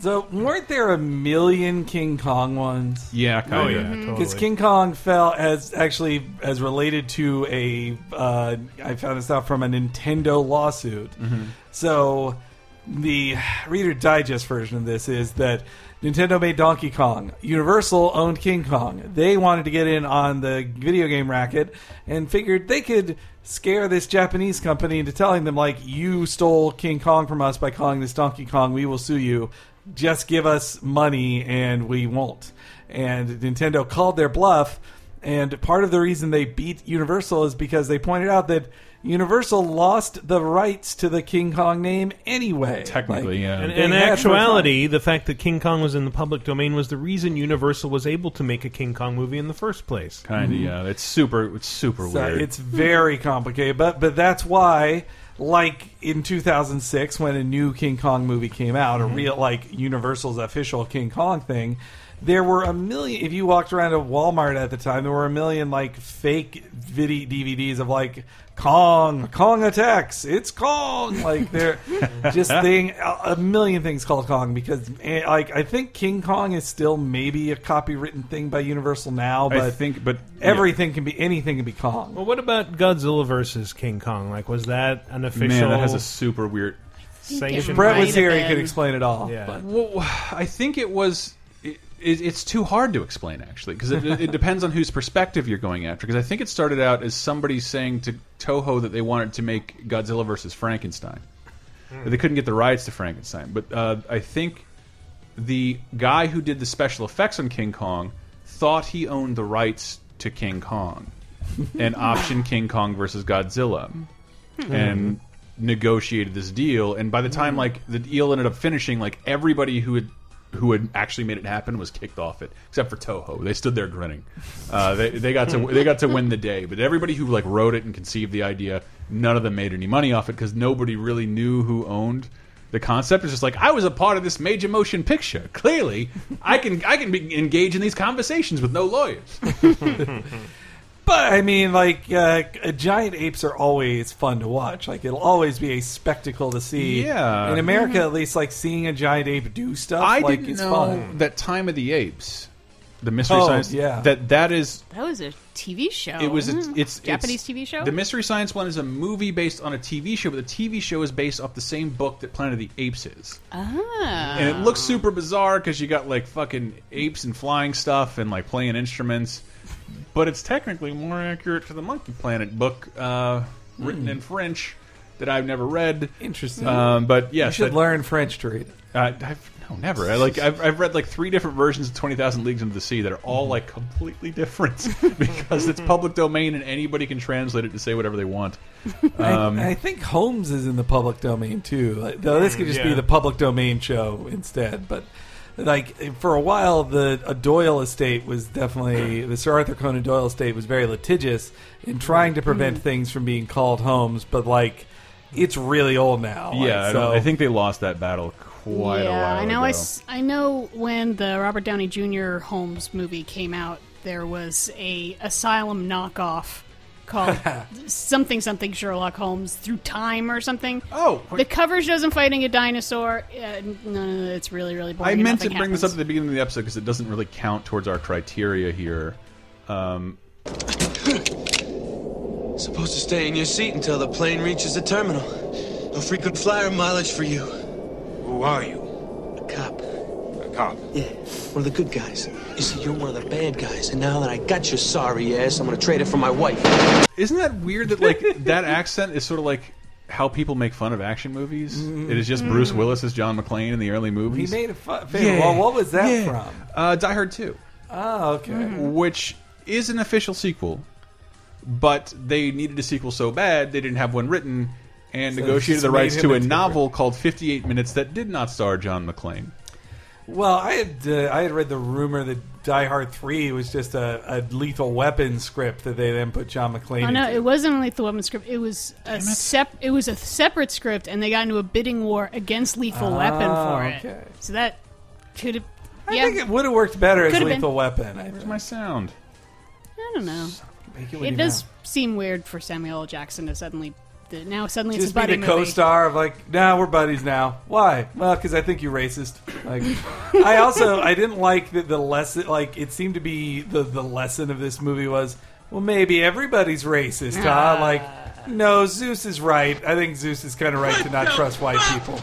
So weren't there a million King Kong ones?
Yeah, kinda. Oh, yeah, totally.
Because King Kong fell as actually as related to a. Uh, I found this out from a Nintendo lawsuit. So the Reader Digest version of this is that Nintendo made Donkey Kong, Universal owned King Kong. They wanted to get in on the video game racket and figured they could scare this Japanese company into telling them, like, you stole King Kong from us by calling this Donkey Kong, we will sue you. Just give us money and we won't. And Nintendo called their bluff. And part of the reason they beat Universal is because they pointed out that Universal lost the rights to the King Kong name anyway.
Technically, yeah.
And,
they
in
had for fun.
actuality, the fact that King Kong was in the public domain was the reason Universal was able to make a King Kong movie in the first place.
Kind of, yeah. It's super. It's super
So
weird.
It's very complicated, but but that's why, like in 2006, when a new King Kong movie came out, a
Mhm.
real like Universal's official King Kong thing, there were a million. If you walked around to Walmart at the time, there were a million like fake video DVDs of like Kong, Kong attacks, it's Kong, like they're just thing a a million things called Kong because eh, like I think King Kong is still maybe a copywritten thing by Universal now,
I
but
think- but-
everything can be anything can be Kong.
Well, what about Godzilla versus King Kong? Like, was that an official?
Man, that has a super weird.
sanction.
If Brett was here, he could explain it all.
Yeah.
but-
Well, I think it was. It, it's too hard to explain, actually, because it, it depends on whose perspective you're going after. Because I think it started out as somebody saying to Toho that they wanted to make Godzilla versus Frankenstein.
Hmm.
But They couldn't get the rights to Frankenstein, but uh, I think the guy who did the special effects on King Kong thought he owned the rights to King Kong, and option King Kong versus Godzilla,
Hmm.
and negotiated this deal. And by the time like the deal ended up finishing, like everybody who had who had actually made it happen was kicked off it, except for Toho. They stood there grinning. Uh, they they got to they got to win the day, but everybody who like wrote it and conceived the idea, none of them made any money off it because nobody really knew who owned. The concept It's just like I was a part of this major motion picture. Clearly, I can I can be engage in these conversations with no lawyers.
But I mean, like, uh, giant apes are always fun to watch. Like, it'll always be a spectacle to see.
Yeah.
in America, at least, like seeing a giant ape do stuff.
I
like,
didn't
it's
know Mm-hmm.
fun.
that Time of the Apes, the Mystery
Oh,
Science.
yeah.
that that is
That was a TV show.
It was a,
wasn't
it's
Oh, mm. Japanese
it's-
TV show.
The Mystery Science one is a movie based on a TV show, but the TV show is based off the same book that Planet of the Apes is,
ah.
and it looks super bizarre because you got like fucking apes and flying stuff and like playing instruments, but it's technically more accurate to the Monkey Planet book, uh, written
Hmm.
in French that I've never read.
Interesting,
um, but yes,
you should
that-
learn French to read.
uh, I've, no, never. I, like I've, I've read like three different versions of Twenty Thousand Leagues Under the Sea that are all like completely different because it's public domain and anybody can translate it to say whatever they want. Um,
I, I think Holmes is in the public domain too. Like, though this could just
Mm, Yeah.
be the public domain show instead. But like for a while, the a Doyle estate was definitely the Sir Arthur Conan Doyle estate was very litigious in trying to prevent
Mm.
things from being called Holmes. But like, it's really old now. Like,
yeah, I, don't-
so
I think they lost that battle quite a
yeah,
while
I know.
ago.
I, s- I know when the Robert Downey Jr. Holmes movie came out, there was a asylum knockoff called something something Sherlock Holmes through time or something.
Oh,
the cover shows him fighting a dinosaur. Uh, no, no, no, it's really really boring.
I
and
meant to
nothing
bring this up
happens.
at the beginning of the episode because it doesn't really count towards our criteria here. Um,
Supposed to stay in your seat until the plane reaches the terminal. No frequent flyer mileage for you. Who are you? A cop. A cop? Yeah, one of the good guys. You see, you're one of the bad guys, and now that I got your sorry ass, I'm gonna trade it for my wife.
Isn't that weird that like that accent is sort of like how people make fun of action movies? It is just Bruce
Mm.
Willis as John McClane in the early
he
movies.
made a fu-
Yeah.
Well, what was that
Yeah. Mm-hmm.
from?
Uh, Die Hard Two.
Oh, okay.
which is an official sequel, but they needed a sequel so bad they didn't have one written and
So they
negotiated
just
the
made
rights
him
to a
into a-
novel called 58 Minutes that did not star John McClane.
Well, I had uh, I had read the rumor that Die Hard Three was just a, a Lethal Weapon script that they then put John McClane.
Oh
into.
no, it wasn't a Lethal Weapon script. It was a sep- It was a separate script, and they got into a bidding war against Lethal Weapon
Ah,
for it.
okay.
So that could have.
I
Yeah,
think it would have worked better as
Could've
Lethal
been.
Weapon. I
Where's my sound?
I don't know.
Make it
It,
with your
does
mouth.
seem weird for Samuel L. Jackson to suddenly. th- Now suddenly it's
Just
a
be
buddy
the
movie.
co-star of like, nah, we're buddies now. Why? Well, because I think you're racist. Like, I also I didn't like that the lesson. Like, it seemed to
Ah.
be the the lesson of this movie was, well, maybe everybody's racist, huh? Like, No, Zeus is right. I think Zeus is kind of right to not trust white people.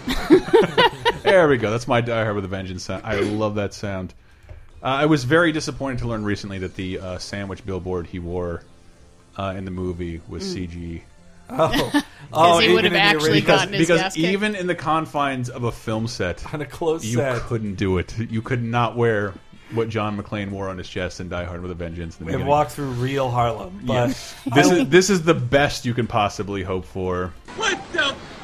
There we go. That's my Die Hard with a Vengeance sound. I love that sound. Uh, I was very disappointed to learn recently that the uh, sandwich billboard he wore uh, in the movie was
Mm.
CG.
Oh. 'Cause Oh, he even would have in the actually original-
because,
gotten his
because
ass kicked.
even in the confines of a film set, on a
close
you
set.
couldn't do it. You could not wear what John McClane wore on his chest in Die Hard with a Vengeance. In the
And
beginning.
walk through real Harlem,
Yeah.
but
this
I-
is this is the best you can possibly hope for.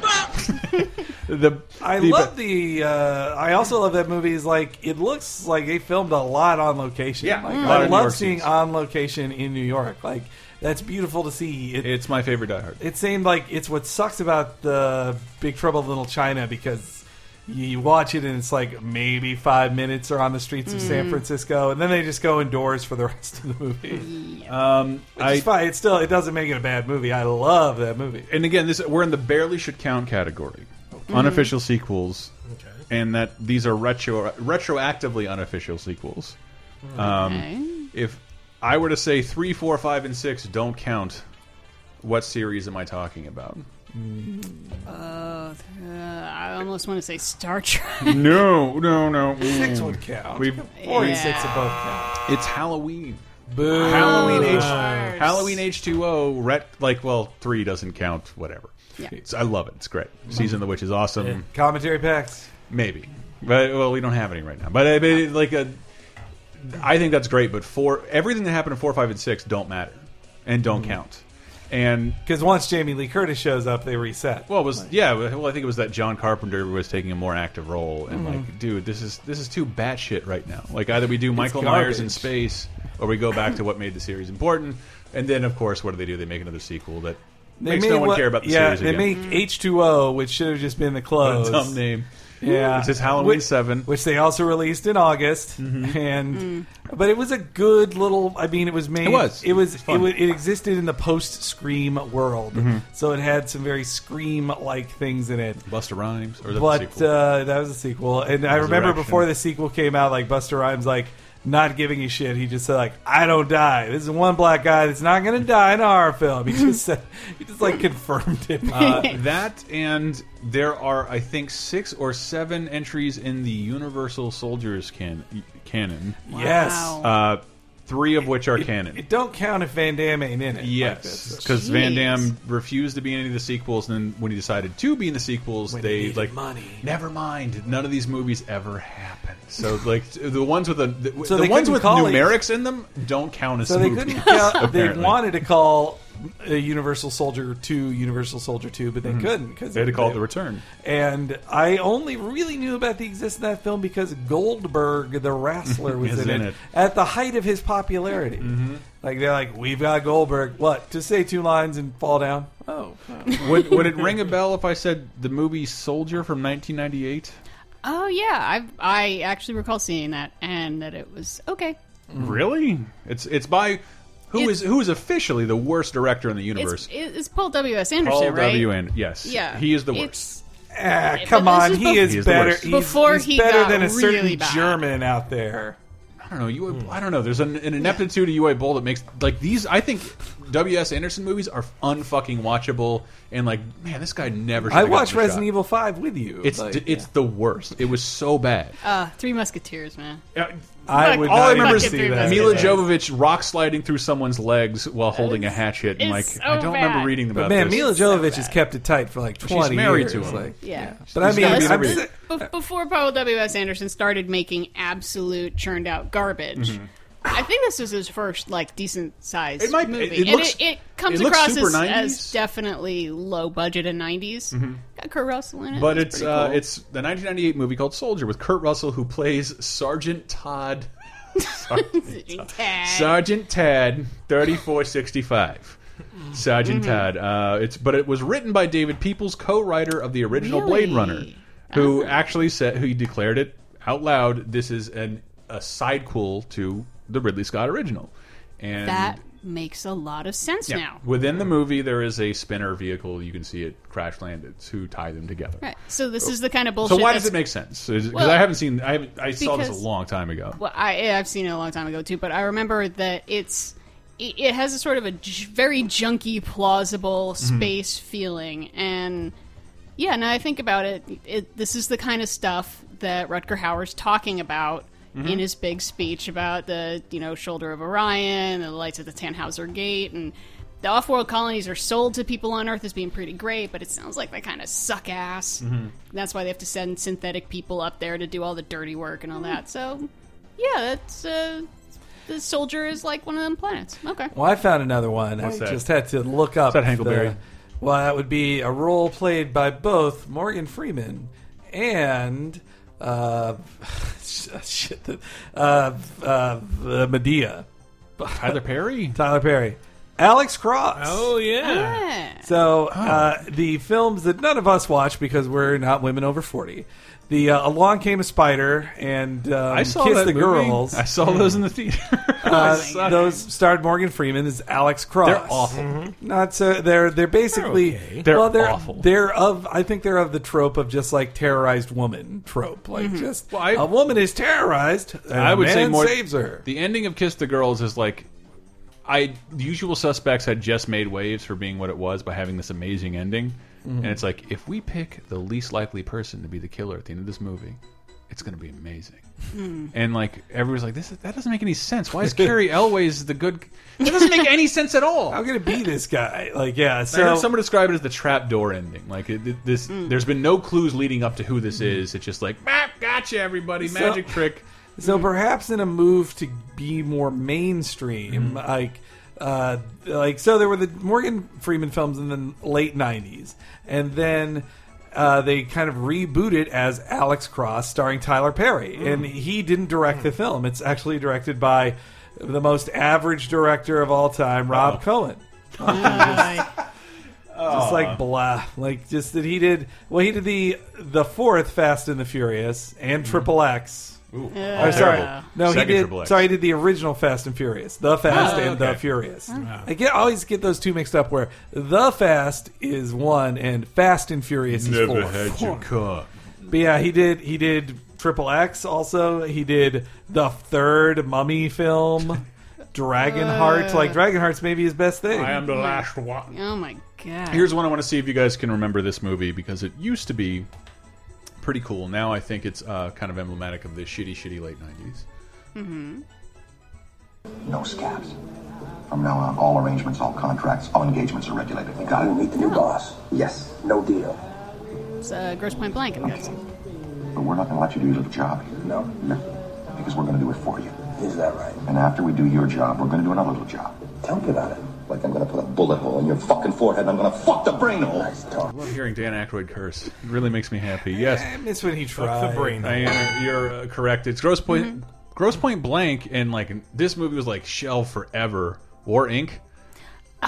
The
I
the-
love the. Uh, I also love that movie. Is like it looks like they filmed a lot on location.
Yeah, Mm.
Like,
a lot
I
of New
love
York
seeing
scenes.
on location in New York. Like that's beautiful to see. It,
it's my favorite Die Hard.
It seemed like it's what sucks about the Big Trouble in Little China because you you watch it and it's like maybe five minutes are on the streets of San
Mm.
Francisco, and then they just go indoors for the rest of the movie.
Um,
Which is fine. It still it doesn't make it a bad movie. I love that movie.
And again, this we're in the barely should count category. Unofficial sequels, and that these are retro retroactively unofficial sequels.
Okay.
Um, if I were to say three, four, five, and six don't count, what series am I talking about?
Uh, uh, I almost want to say Star Trek.
no, no, no.
Six
Mm.
would count.
We
Four and six Yeah.
above
count. It's Halloween.
Boo.
Halloween H
Nice.
Halloween H two O. Ret like well three doesn't count. Whatever.
Yeah.
It's- I love it. It's great. Season of the Witch is awesome.
Yeah. Commentary packs.
Maybe, but well, we don't have any right now. But I mean, like a, I think that's great. But four, everything that happened in four, five, and six don't matter and don't
Mm-hmm.
count. And
because once Jamie Lee Curtis shows up, they reset.
Well, it was yeah. Well, I think it was that John Carpenter was taking a more active role, and
Mhm.
like, dude, this is this is too batshit right now. Like, either we do
It's
Michael Myers in space, or we go back to what made the series important. And then, of course, what do they do? They make another sequel that makes
made
no one
what-
care about the
yeah,
series
they
again.
make H two O, which should have just been the close.
What a dumb name.
Yeah,
It's just Halloween
which,
Seven,
which they also released in August,
Mm-hmm.
and but it was a good little. I mean, it was made.
It was.
It
It
was.
was
It,
fun.
wa- it existed in the post Scream world,
Mhm.
so it had some very Scream like things in it.
Buster Rhymes, or is that the
but
sequel?
Uh, that was a sequel, and I remember
Resurrection.
before the sequel came out, like Buster Rhymes, like. Not giving a shit. He just said, "Like I don't die. This is one black guy that's not going to die in a horror film." He just said, "He just like confirmed it."
Uh, that and there are I think six or seven entries in the Universal Soldiers can canon.
Yes.
uh, three of which are canon.
It don't count if Van Damme ain't in it.
Yes,
Like this.
because Van Damme refused to be in any of the sequels, and then when he decided to be in the sequels,
they
they
needed
like money. Never mind, none of these movies ever happened. So like the ones with the, the,
So
the
they
ones
couldn't
with
call it-
numerics in them don't count as
So they
movies.
couldn't. Count, they
apparently.
wanted to call uh, Universal Soldier Two Universal Soldier Two, but they
Mhm.
couldn't because
They had to call it The Return.
And I only really knew about the existence of that film because Goldberg, the wrestler, was
Is
in,
in
it,
it. Mm-hmm.
at the height of his popularity. Like they're like, we've got Goldberg. What to say two lines and fall down? Oh,
would, would it ring a bell if I said the movie Soldier from 1998?
Oh yeah, I I actually recall seeing that and that it was okay.
Mm.
Really? It's it's by who is
It's-
who is officially the worst director in the universe?
It's, it's Paul W S Anderson,
Paul
right?
W. Anderson. Yes.
Yeah,
He is the worst.
It's-
Ah,
but
come
this
on, he
bef-
is,
the
better.
worst.
He's,
Before
he's
he
better
got
than a certain
really bad.
German out there.
I don't know. You,
Hmm.
I don't know. There's an, an ineptitude to UA Bowl that makes like these. I think W.S. Anderson movies are unfucking watchable. And like, man, this guy never. should
I
have
watched
gotten the
Resident Evil Five with you.
shot. It's
Like,
it's the worst. It was so bad.
Uh, Three Musketeers, man.
I would
All
not
I remember
even
is
see that.
Mila
Yeah.
Jovovich rock sliding through someone's legs while holding a hatchet, and like
it's
I
so
don't
bad.
remember reading
But
about
man,
this.
Mila Jovovich has kept it tight for like
She's
twenty.
married
years.
to him.
Like,
Yeah.
but I
She's
mean,
got
I'm
everything.
just-
Bef- before Paul W S Anderson started making absolute churned out garbage.
Mhm.
I think this is his first like decent sized
It might be.
movie.
It- it
And
looks-
it, it comes
it looks
across
super
as,
90s.
as definitely low budget in 90s.
Mhm.
Got Kurt Russell in it.
But
That's
it's
pretty
uh,
cool.
it's the 1998 movie called Soldier with Kurt Russell, who plays Sergeant Todd. Sergeant Todd. Sergeant Tad, 3465. Sergeant
Mm-hmm.
Todd. Uh, it's but it was written by David Peoples, co-writer of the original Blade Runner, who actually said who declared it out loud. This is an a sidequel to the Ridley Scott original, and
that makes a lot of sense
yeah,
now.
within the movie there is a spinner vehicle. You can see it crash land. It's who tie them together.
Right. So this is the kind of
So
bullshit.
why does
that's-
it make sense? Because
Well,
I haven't seen. I haven't. I saw this a
because-
long time ago.
Well, I, I've seen it a long time ago too, but I remember that it's it it has a sort of a j- very junky, plausible
Mhm.
space feeling, and yeah, now I think about it, it this is the kind of stuff that Rutger Hauer's talking about
Mhm.
in his big speech about the you know shoulder of Orion and the lights at the Tannhauser Gate, and the off-world colonies are sold to people on Earth as being pretty great, but it sounds like they kind of suck ass. That's why they have to send synthetic people up there to do all the dirty work and all that. So, yeah, that's uh, the soldier is like one of them planets. Okay.
Well, I found another one.
What's
I
that?
just had to look
Is
up.
that Hankleberry?
the- well, that would be a role played by both Morgan Freeman and uh, shit, the- uh, uh, uh, Medea.
Tyler Perry.
Tyler Perry. Alex Cross.
Oh
Ah.
yeah.
So
Oh.
uh, the films that none of us watch because we're not women over forty. The uh, Along Came a Spider and um,
I saw
Kiss
that
the
movie.
Girls.
I saw those in the theater.
Uh,
I suck.
those starred Morgan Freeman as Alex Cross.
They're awful. Mhm.
Not so. They're they're basically
They're okay. They're
well, they're
awful.
They're of I think they're of the trope of just like terrorized woman trope. Like
Mhm.
just
Well, I-
a woman is terrorized. And
I would
a
say
man
more
saves her.
The ending of Kiss the Girls is like I the usual suspects had just made waves for being what it was by having this amazing ending.
Mm-hmm.
Mhm.
And it's like if we pick the least likely person to be the killer at the end of this movie, it's going to be amazing.
Mm.
And like everyone's like this that doesn't make any sense. Why is Carrie Elway's the good That doesn't make any sense at all.
How could it be this guy? Like yeah,
I
so Hmm.
heard someone describe it as the trapdoor ending. Like it, it- this, there's been no clues leading up to who this is. It's just like "Bah, gotcha, everybody,
So-
magic trick.
So perhaps in a move to be more mainstream, like. Uh, like so, there were the Morgan Freeman films in the late '90s, and then uh, they kind of rebooted as Alex Cross, starring Tyler Perry,
Mm.
and he didn't direct the film. It's actually directed by the most average director of all time, Rob Cohen. Just like blah, like just that he did. Well, he did the the fourth Fast and the Furious and Triple X.
Ooh,
Or
all
Oh, sorry,
terrible.
no,
Second
he did.
Triple X.
Sorry, he did the original Fast and Furious, the Fast
Oh,
and
okay.
the Furious.
Wow.
I get always get those two mixed up. Where the Fast is one and Fast and Furious is four. Four.
car.
But yeah, he did. He did Triple X. Also, he did the third Mummy film, Dragonheart.
Uh.
like Dragonheart's maybe his best thing.
I am the last one.
Oh my god.
Here's one I want to see if you guys can remember this movie because it used to be pretty cool. Now I think it's uh, kind of emblematic of the shitty, shitty late '90s.
Mm-hmm.
No scabs. From now on, all arrangements, all contracts, all engagements are regulated. You gotta meet the new boss. Yes. No deal.
It's uh, Gross Point Blank, I'm guessing.
But we're not gonna let you do your little job here. No. No. Because we're gonna do it for you. Is that right? And after we do your job, we're gonna do another little job. Tell me about it. Like I'm gonna put a bullet hole in your fucking forehead and I'm gonna fuck the brain hole. Nice
I love hearing Dan Aykroyd curse. It really makes me happy. Yes,
I miss when he
Fuck
tried.
Diana, you're uh, correct. It's gross point. Gross point blank, and like this movie was like shelved forever. War Inc.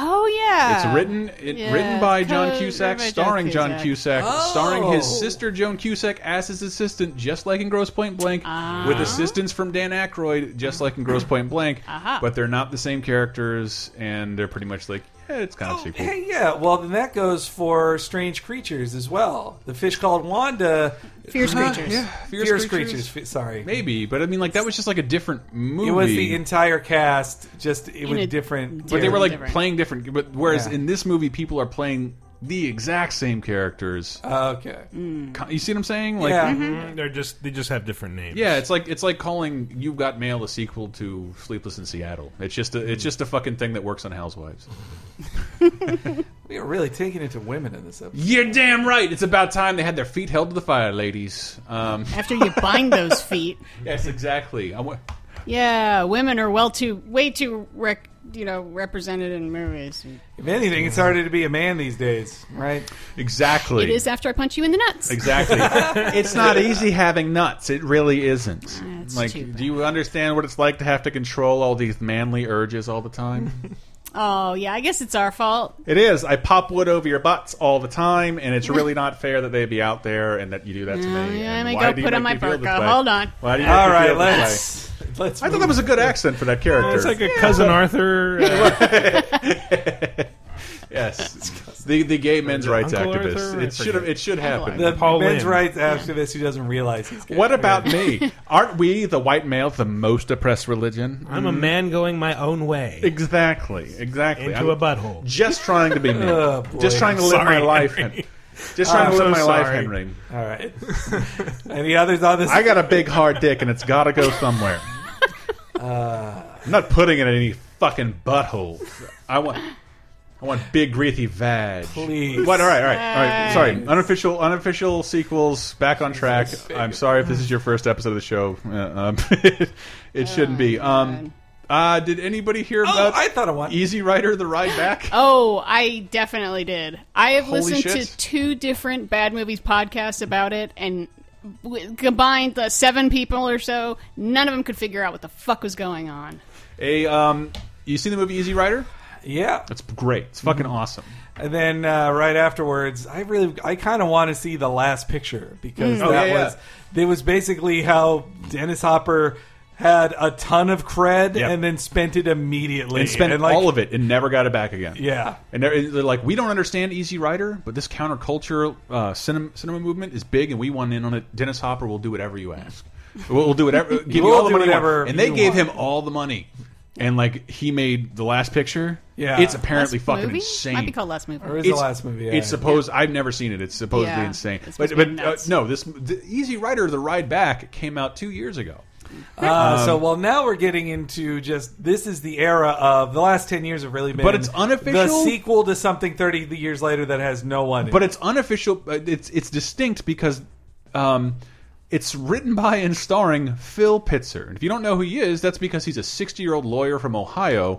Oh yeah.
It's written it,
Yeah,
written by
it's
John
co-
Cusack,
written by
starring John Cusack, starring his
Oh.
sister Joan Cusack as his assistant, just like in Gross Point Blank, with assistance from Dan Aykroyd, just like in Gross Point Blank.
Aha.
But they're not the same characters, and they're pretty much like, yeah, it's kind of sequel.
Oh, Hey, yeah. Well, then that goes for strange creatures as well. The fish called Wanda.
Fierce
Huh,
creatures.
Yeah, fierce,
Fierce
creatures.
creatures.
Fe- Sorry,
Maybe, but I mean, like that was just like a different movie.
it was the entire cast. Just it
In
was
a-
different.
but they were like
different-
playing different. But whereas
Yeah.
in this movie, people are playing the exact same characters.
Uh, okay.
Mm-hmm. You see what I'm saying? Like,
yeah. They're just they just have different names.
Yeah, it's like it's like calling "You've Got Mail" a sequel to "Sleepless in Seattle." It's just a it's just a fucking thing that works on Housewives.
we were really taking it to women in this episode.
You're damn right. It's about time they had their feet held to the fire, ladies. Um,
After you bind those feet.
yes, exactly. I wa-
Yeah, women are well too way too rec- you know represented in movies.
If anything, it's harder to be a man these days, right?
Exactly.
It is after I punch you in the nuts.
Exactly. it's not easy having nuts. It really isn't.
it's
like,
too
do you understand what it's like to have to control all these manly urges all the time?
Oh yeah, I guess it's our fault.
it is. I pop wood over your butts all the time, and it's really not fair that they be out there and that you do that to
Oh,
me.
yeah,
And
let me
why
go
do you
put on
make
my
me feel this
burqa.
way?
Hold on.
Why do you make
All
me
right,
feel this
let's-
way?
let's
I thought
move.
that was a good accent for that character.
It's like a cousin Arthur. uh,
yes. the the gay men's
The
rights
Uncle
activists.
Arthur? I
It should have it should happen.
The men's rights activist who doesn't realize he's gay.
What about me? Aren't we the white male the most oppressed religion?
I'm a man going my own way.
Exactly. Exactly.
Into
I'm
a butthole.
Just trying to be me.
Oh,
just
boy.
trying to live
Sorry,
my life.
Henry.
Hen- Just trying
I'm
to live
so
my life,
sorry.
Henry.
All right. Any others on this?
I got a big hard dick, and it's got to go somewhere.
Uh,
I'm not putting it in any fucking butthole. I want, I want big greasy vag.
Please.
What? All right, all right, all right. Sorry.
Please.
Unofficial, unofficial sequels. Back on track. I'm sorry if this is your first episode of the show. Uh, um, it shouldn't
Oh,
be. Um, uh, did anybody hear about? I
thought I want
Easy Rider: The Ride Back.
Oh, I definitely did. I have
Holy
listened
shit.
to two different bad movies podcasts about it, and w- combined the seven people or so, none of them could figure out what the fuck was going on.
A um, you seen the movie Easy Rider?
Yeah,
it's great. It's fucking
Mm-hmm.
awesome.
And then uh, right afterwards, I really, I kind of want to see the last picture because
Mm. Oh,
that
yeah, yeah.
was, it was basically how Dennis Hopper had a ton of cred
Yep.
and then spent it immediately
and spent
like,
all of it and never got it back again.
Yeah.
and they're, they're like, we don't understand Easy Rider, but this counterculture uh, cinema, cinema movement is big, and we want in on it. Dennis Hopper will do whatever you ask. We'll, we'll do whatever. Give you
We'll
all the
do
money you want."
whatever
and they
you
gave
want.
him all the money, and like he made the last picture.
Yeah.
it's apparently
Last
fucking
movie?
insane.
Might be called last movie.
Or is it last movie? Yeah.
It's supposed. I've never seen it. It's supposedly
Yeah.
insane.
It's supposed
But
to be
but uh,
nuts.
no, this the Easy Rider, the ride back, came out two years ago.
Uh,
Um,
so well, now we're getting into just this is the era of the last ten years have really been,
But it's unofficial?
The sequel to something thirty years later that has no one. in
but
it.
it's unofficial. but It's it's distinct because um, it's written by and starring Phil Pitzer. And if you don't know who he is, that's because he's a sixty-year-old lawyer from Ohio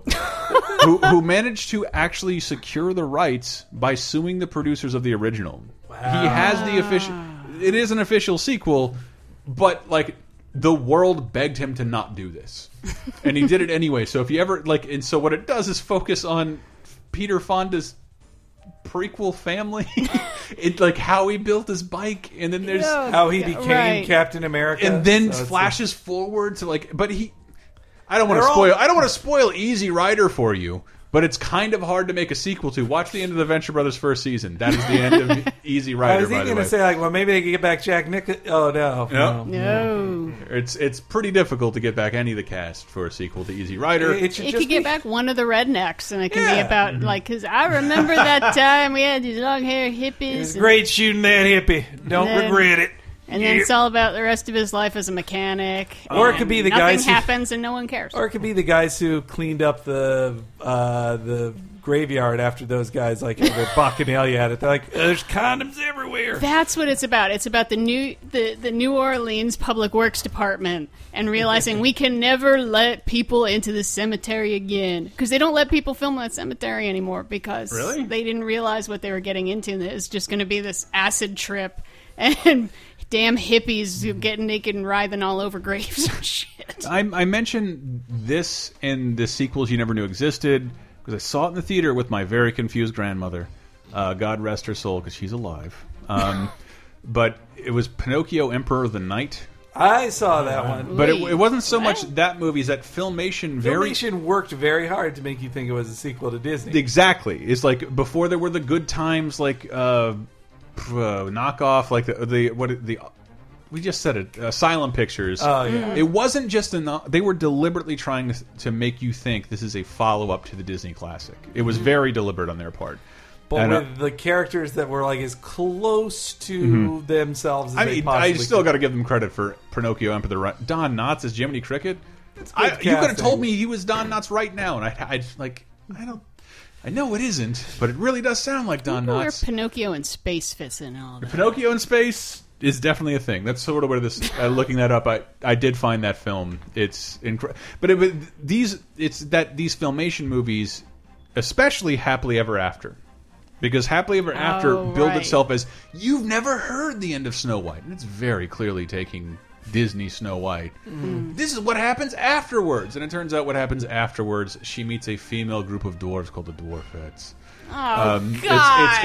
who, who managed to actually secure the rights by suing the producers of the original. He has the official. It is an official sequel, but like the world begged him to not do this, and he did it anyway. So if you ever like, and so what it does is focus on Peter Fonda's prequel family. it like how he built his bike, and then there's
Yeah, How he became right. Captain America.
and then
So it's
flashes forward to like. But he, I don't want to
They're all-
spoil. I don't want to spoil Easy Rider for you. But it's kind of hard to make a sequel to. Watch the end of the Venture Brothers first season. That is the end of Easy
I
Rider.
was
by the
even going
way,
to say like, well, maybe they could get back Jack Nick. Oh no,
No.
No.
it's it's pretty difficult to get back any of the cast for a sequel to Easy Rider.
It could get back one of the rednecks, and it can be about
Mm-hmm.
like because I remember that time we had these long hair hippies. and-
Great shooting that hippie. Don't
Then-
regret it.
And then
Yeah.
it's all about the rest of his life as a mechanic.
Or it
and
could be the
nothing
guys who-
happens and no one cares.
Or it could be the guys who cleaned up the uh, the graveyard after those guys like had their bacchanalia at it. They're like, there's condoms everywhere.
That's what it's about. It's about the new the, the New Orleans Public Works Department and realizing we can never let people into the cemetery again because they don't let people film that cemetery anymore because
Really?
they didn't realize what they were getting into. and It's just going to be this acid trip and damn hippies who get naked and writhing all over graves and shit.
I, I mentioned this and the sequels you never knew existed because I saw it in the theater with my very confused grandmother. Uh, God rest her soul because she's alive. Um, but it was Pinocchio, Emperor of the Night.
I saw that one,
But it, it wasn't so much that movie; is that filmation very
Filmation worked very hard to make you think it was a sequel to Disney.
Exactly. It's like before there were the good times, like uh, pff, uh knockoff, like the, the what the we just said it, Asylum Pictures.
Oh, yeah. Mhm.
It wasn't just a. no- They were deliberately trying to, to make you think this is a follow up to the Disney classic. It was very deliberate on their part.
Mm-hmm. But
And, uh,
with the characters that were like as close to
Mhm.
themselves as
I
they
mean, I
possibly
still got to give them credit for Pinocchio Emperor. the Ri- Don Knotts as Jiminy Cricket. I, you
good
could have
casting.
told me he was Don Knotts right now, and I, I'd like I don't. I know it isn't, but it really does sound like Don
Wonder Where
Knotts.
Pinocchio and space fits in all that.
Pinocchio in space is definitely a thing. That's sort of where this. Uh, looking that up, I I did find that film. It's incredible, but it, was- these it's that these filmation movies, especially Happily Ever After, because Happily Ever After
Oh,
billed
right.
itself as you've never heard the end of Snow White, and it's very clearly taking Disney Snow White.
Mhm.
This is what happens afterwards, and it turns out what happens afterwards. She meets a female group of dwarves called the Dwarfettes.
Oh,
it's,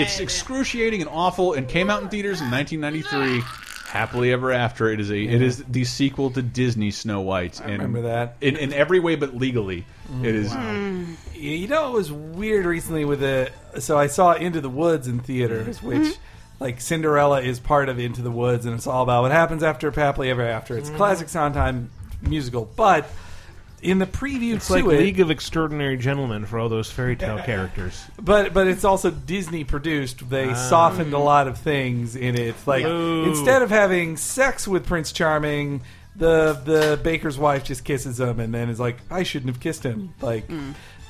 it's, it's excruciating and awful, and came out in theaters in 1993. Happily Ever After. It is a it is the sequel to Disney Snow White. I
remember that. Mm,
in in every way but legally. it is.
You know, it was weird recently with the. So I saw Into the Woods in theaters,
Mm-hmm.
which. Like Cinderella is part of Into the Woods, and it's all about what happens after Happily Ever After. It's a
Mm-hmm.
Mm.
classic Sondheim musical, but in the preview
It's
to
like
it,
League of Extraordinary Gentlemen for all those fairy tale characters.
But but it's also Disney produced. They
Ah.
softened a lot of things in it. Like
Boo.
instead of having sex with Prince Charming, the the baker's wife just kisses him and then is like, I shouldn't have kissed him. Like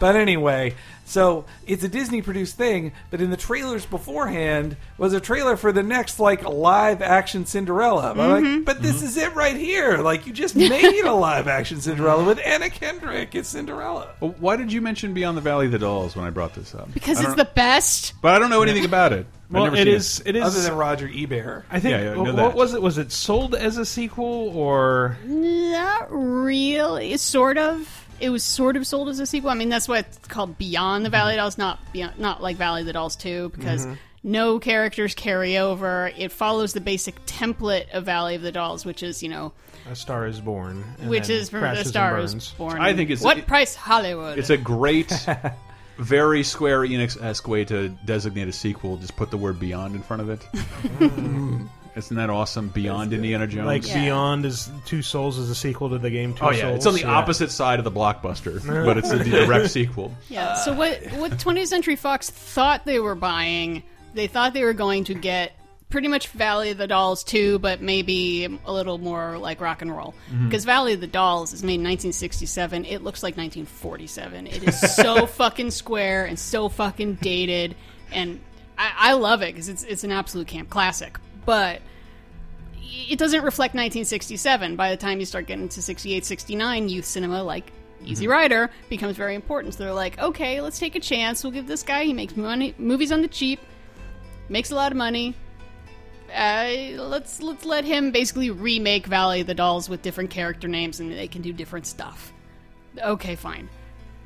But anyway, so it's a Disney produced thing, but in the trailers beforehand was a trailer for the next like live action Cinderella. I'm like,
Mhm.
but this is it right here. Like you just made a live action Cinderella with Anna Kendrick. It's Cinderella.
Well, Why did you mention Beyond the Valley of the Dolls when I brought this up?
Because
I
it's
don't-
the best.
But I don't know anything about it. I've
Well,
never
it
seen
is. It is.
Other than Roger Ebert,
I think.
Yeah, yeah, I know
what
that.
was it? Was it sold as a sequel or?
Not really. Sort of. It was sort of sold as a sequel. I mean, that's why it's called
Mm-hmm.
Beyond the Valley of the Dolls, not beyond, not like Valley of the Dolls Two, because
Mhm.
no characters carry over. It follows the basic template of Valley of the Dolls, which is you know,
A Star is Born, and
which
then
is from
Crashes
the
and
Star is
Burns.
Born.
I think it's-
what
it-
price Hollywood.
It's a great, very Square Enix esque way to designate a sequel. Just put the word Beyond in front of it. Isn't that awesome? Beyond Indiana Jones.
Mm. Like Beyond is Two Souls is a sequel to the game Two
Oh
Souls.
yeah, it's on the
Yeah.
opposite side of the blockbuster, but it's a direct sequel.
Yeah. so what what 20th Century Fox thought they were buying, they thought they were going to get pretty much Valley of the Dolls too, but maybe a little more like rock and roll.
Mhm.
Because Valley of the Dolls is made in 1967. It looks like 1947. It is so fucking square and so fucking dated, and I, I love it because it's it's an absolute camp classic. But it doesn't reflect 1967. By the time you start getting to 68, 69, youth cinema like Easy
Mhm.
Rider becomes very important. So they're like, okay, let's take a chance. We'll give this guy. He makes money, movies on the cheap, makes a lot of money. Uh, let's let's let him basically remake Valley of the Dolls with different character names, and they can do different stuff. Okay, fine.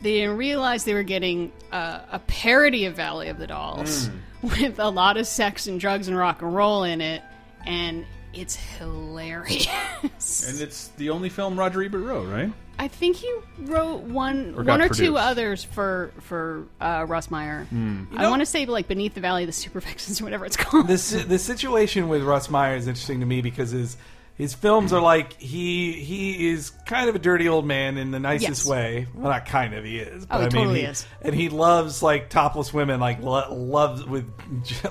They didn't realize they were getting uh, a parody of Valley of the Dolls
Mm.
with a lot of sex and drugs and rock and roll in it, and it's hilarious.
And it's the only film Roger Ebert wrote, right?
I think he wrote one,
Or got
one or
produced. Mm.
two others for for uh, Russ Meyer.
Hmm. You
I
know-
want to say like Beneath the Valley of the Superfixes or whatever it's called.
the si- the situation with Russ Meyer is interesting to me because his his films are like he he is kind of a dirty old man in the nicest
Yes.
way. Well, not kind of, he is.
Oh, he
I
totally
he-
is.
And he loves like topless women, like lo- loves with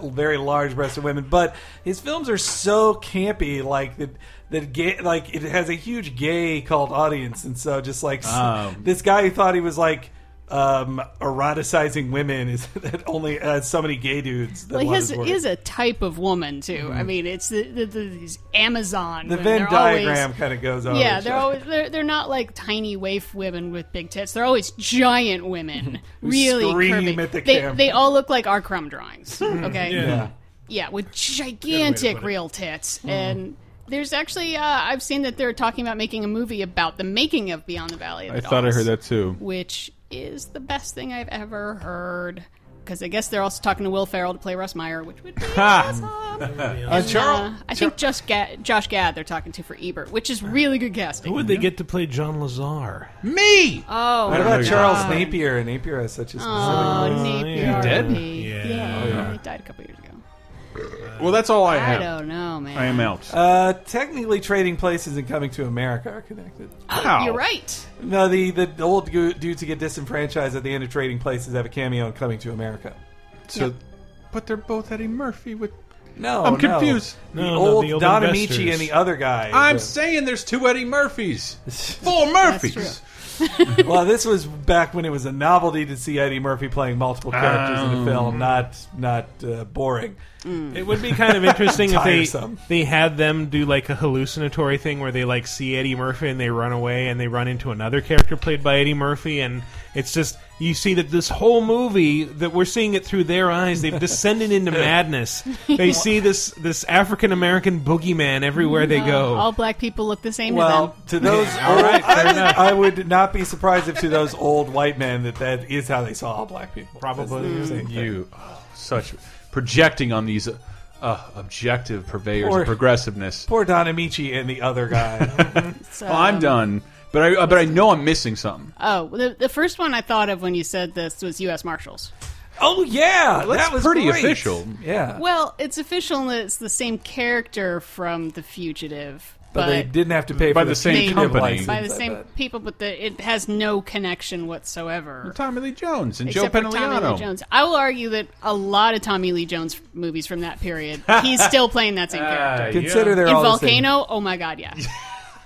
very large breasted women. But his films are so campy, like that. That gay, like it has a huge gay cult audience, and so just like s-
Oh.
this guy who thought he was like um eroticizing women is that only uh, so many gay dudes that
Well, he
love
has,
his work.
he has a type of woman too. I
Mhm.
mean, it's the, the, the these Amazon.
The
women.
Venn
They're always-
diagram kinda goes over
Yeah,
each
they're
other.
always they're, they're not like tiny waif women with big tits. They're always giant women,
Who
really
scream
curvy.
at the
they
camera.
they all look like our crumb drawings. Okay,
Yeah. Yeah.
Yeah, with gigantic real tits
Hmm.
Mhm.
and. There's actually, uh, I've seen that they're talking about making a movie about the making of Beyond the Valley. Of
I
the
thought I
Dolls
heard that too.
which is the best thing I've ever heard. Because I guess they're also talking to Will Ferrell to play Russ Meyer, which would be awesome. And, uh, I think just Ga- Josh Gad they're talking to for Ebert, which is really good casting.
Who would they get to play John Lazar?
Me. Oh,
what about
God.
Charles Napier? Napier has such a specific.
Oh, Napier.
He dead?
Yeah.
Yeah. Oh, yeah.
He died a couple years ago.
Well, that's all I
I
have.
don't know, man.
I am out.
Uh, technically, Trading Places and Coming to America are connected.
You're right.
No, the the old gu- dudes who get disenfranchised at the end of Trading Places have a cameo in Coming to America.
So, but they're both Eddie Murphy with.
No,
I'm
no.
confused.
The No, no, old the old Don investors. Amici and the other guy.
I'm
The-
saying there's two Eddie Murphys, four Murphys.
well, this was back when it was a novelty to see Eddie Murphy playing multiple characters in a
Oh.
film, not not uh, boring.
Mm.
It would be kind of interesting if they
Tiresome.
they had them do like a hallucinatory thing where they like see Eddie Murphy and they run away and they run into another character played by Eddie Murphy and it's just you see that this whole movie that we're seeing it through their eyes they've descended into madness. They see this this African American boogeyman everywhere they go.
Uh, All black people look the same
Well,
to
to
them.
those,
Yeah, all right, fair
I, would,
enough.
I would not be surprised if to those old white men that that is how they saw all black people. Mm. That's the
Probably
same thing.
you, oh, such projecting on these uh, uh, objective purveyors
Or-
of progressiveness.
Poor Don Amici and the other guy.
So,
well, I'm done, but I uh, but I know I'm missing something.
Oh, the, the first one I thought of when you said this was U.S. Marshals.
oh yeah,
Well, that's
that was
pretty
great.
official.
Yeah,
Well, it's official and it's the same character from The Fugitive.
but, they didn't have to pay
By
for
the same
they-
fugitive
company.
license,
by the
I
same
bet.
people, but the, it has no connection whatsoever.
Tommy Lee Jones and
Except
Joe
for Tommy Lee
Pantoliano.
Jones. I will argue that a lot of Tommy Lee Jones movies from that period, he's still playing that same character.
Consider yeah. Uh, they're
in
all the same.
Volcano. Oh my God, yeah.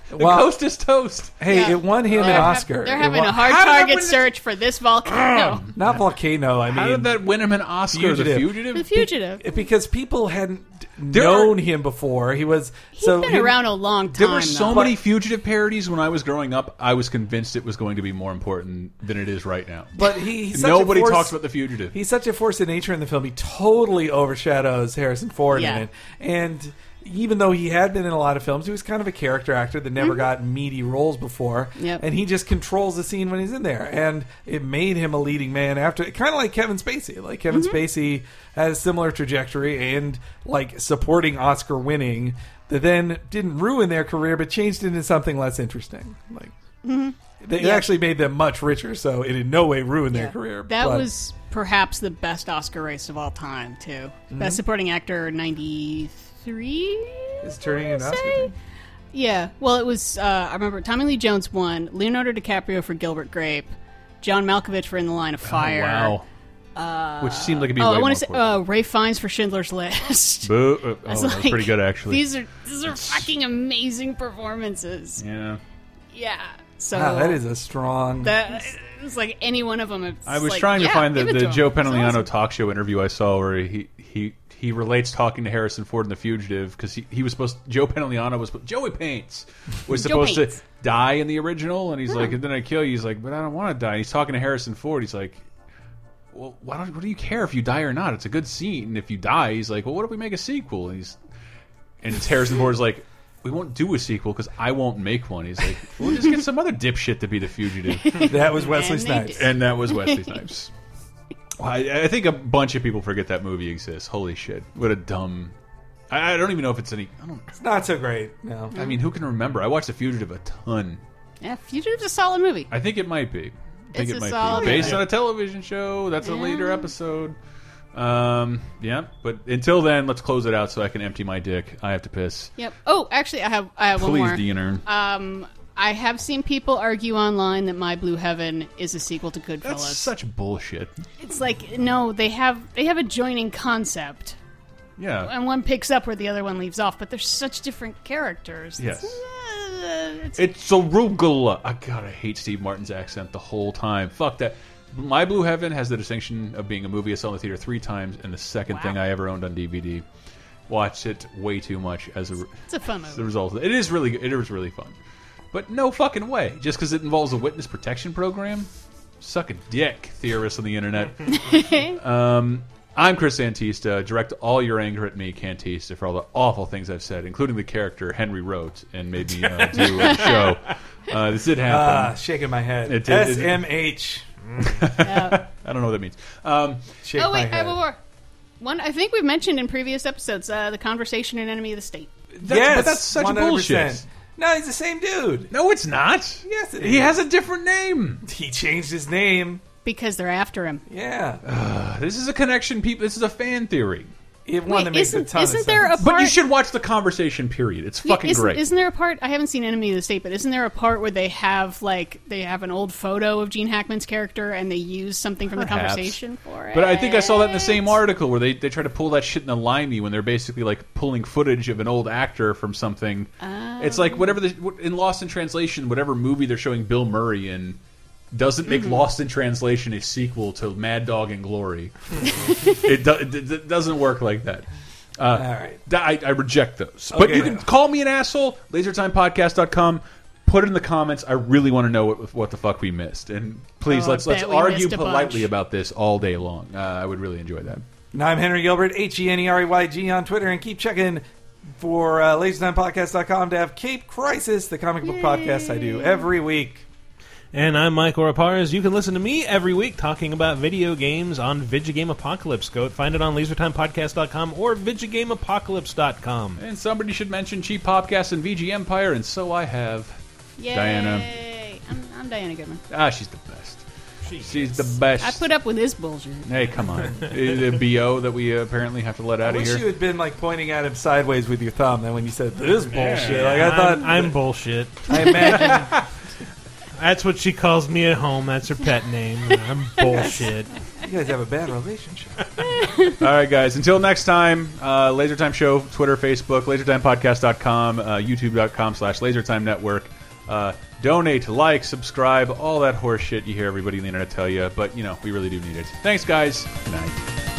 The coast is toast.
Hey,
Yeah.
it won him
They're
an
ha-
Oscar.
They're
It
having
won-
a hard target search for this volcano.
Not volcano. I mean,
How did that win him an Oscar? The Fugitive.
the fugitive.
because people hadn't known him before. He was
He's
so
been
he-
around a long time.
There were so
though.
many fugitive parodies when I was growing up. I was convinced it was going to be more important than it is right now.
But he he's such a
nobody
force-
talks about the fugitive.
He's such a force of nature in the film. He totally overshadows Harrison Ford
Yeah.
in it. And even though he had been in a lot of films, he was kind of a character actor that never got meaty roles before.
Mm-hmm. Yep.
And he just controls the scene when he's in there. And it made him a leading man after kind of like Kevin Spacey. Like Kevin
Mm-hmm.
Spacey had a similar trajectory and like supporting Oscar winning that then didn't ruin their career but changed it into something less interesting. Like
Mhm.
they
Yeah.
actually made them much richer, so it in no way ruined their career.
That
but-
was perhaps the best Oscar race of all time, too.
Mhm.
Best Supporting Actor '93.
It's turning an Oscar. thing.
Yeah. Well, it was. Uh, I remember Tommy Lee Jones won, Leonardo DiCaprio for Gilbert Grape, John Malkovich for In the Line of Fire.
Oh, wow.
Uh,
Which seemed like it'd be
oh,
way
I
more
want to say uh, Ray Fiennes for Schindler's List.
Boo. Uh,
I was
oh, that was
like,
pretty good, actually.
These are these are fucking amazing performances.
yeah.
Yeah. So
wow, Ah, that is a strong.
that it's like any one of them. It's
I was
like,
trying to
yeah,
find the,
give it
the
to 'em.
Joe
It's
Pantoliano
awesome.
talk show interview I saw where he he he relates talking to Harrison Ford in The Fugitive because he, he was supposed Joe Pantoliano was Joey Paints was
Joe
supposed to
Paints.
die in the original and he's like and then I kill you he's like but I don't want to die he's talking to Harrison Ford he's like well why don't what do you care if you die or not it's a good scene and if you die he's like well what if we make a sequel and he's and it's Harrison Ford's like. We won't do a sequel because I won't make one. He's like, we'll just get some other dipshit to be the fugitive.
That was Wesley And they Snipes. did.
and that was Wesley Snipes. Well, I, I think a bunch of people forget that movie exists. Holy shit! What a dumb. I, I don't even know if it's any. I don't.
It's not so great. No,
I mean, who can remember? I watched The Fugitive a ton.
Yeah, Fugitive's a solid movie.
I think it might be. I think
It's
it
a
might
solid
be based
movie.
on a television show. That's a later episode. Um. Yeah. But until then, let's close it out so I can empty my dick. I have to piss.
Yep. Oh, actually, I have I have one
Please,
more.
Diener.
Um, I have seen people argue online that My Blue Heaven is a sequel to Goodfellas.
That's such bullshit.
It's like no, they have they have adjoining concept,
Yeah.
and one picks up where the other one leaves off. But they're such different characters. uh,
Yes.
It's,
It's arugula. I God, I hate Steve Martin's accent the whole time. Fuck that. My Blue Heaven has the distinction of being a movie I saw in the theater three times and the second thing I ever owned on DVD. Watched it way too much as a
It's a fun
as
movie.
a result. Of it. it is really good. It is really fun, but no fucking way. Just because it involves a witness protection program, suck a dick, theorists on the internet. Um, I'm Chris Antista. Direct all your anger at me, Cantista, for all the awful things I've said, including the character Henry wrote and made me uh, do a show. Uh, this did happen.
Ah, shaking my head.
It did- it-
SMH.
I don't know what that means. Um,
Shake
oh wait, I have one more. One I think we've mentioned in previous episodes, uh, the conversation in Enemy of the State.
yes,
but that's such
100%.
bullshit.
No, he's the same dude.
No, it's not.
Yes, it
He
is.
has a different name.
He changed his name.
Because they're after him.
Yeah.
Ugh, this is a connection, people. This is a fan theory.
It
Wait, that makes a isn't- ton of isn't there sense. a
But you
part-
should watch the conversation. Period. It's
Yeah,
fucking
isn't,
great.
Isn't there a part? I haven't seen Enemy of the State, but isn't there a part where they have like they have an old photo of Gene Hackman's character and they use something from the
Perhaps.
conversation for it?
But I think I saw that in the same article where they, they try to pull that shit in a limey when they're basically like pulling footage of an old actor from something. It's
Oh.
like whatever the in Lost in Translation, whatever movie they're showing Bill Murray in doesn't make
Mm-hmm.
Lost in Translation a sequel to Mad Dog and Glory. it, do, it, it doesn't work like that. Uh,
All right.
I, I reject those. But
Okay.
you can call me an asshole, lasertimepodcast.com. Put it in the comments. I really want to know what, what the fuck we missed. And please,
Oh, I
let's let's
bet we
argue
missed a bunch.
politely about this all day long. Uh, I would really enjoy that.
And I'm Henry Gilbert, H E N E R E Y G on Twitter, and keep checking for uh, LaserTimePodcast.com to have Cape Crisis, the comic book podcast I do every week.
And I'm Michael Raparez. You can listen to me every week talking about video games on Vigigame Apocalypse. Go find it on lasertimepodcast.com or vigigameapocalypse.com.
And somebody should mention Cheap Popcast and VG Empire, and so I have.
Yay.
Diana.
I'm, I'm Diana Goodman.
Ah, she's the best. she's the best.
I put up with his bullshit.
Hey, come on. the BO that we uh, apparently have to let out
I
of
wish
here.
you had been like pointing at him sideways with your thumb. Then when you said this bullshit,
Yeah.
like I thought,
I'm, I'm bullshit.
I imagine-
that's what she calls me at home. That's her pet name. I'm bullshit.
You guys have a bad relationship.
All right, guys. Until next time, uh, Lasertime Show, Twitter, Facebook, lasertimepodcast.com, uh, youtube.com slash lasertime network. Uh, donate, like, subscribe, all that horse shit you hear everybody on the internet tell you. But, you know, we really do need it. Thanks, guys. Good night.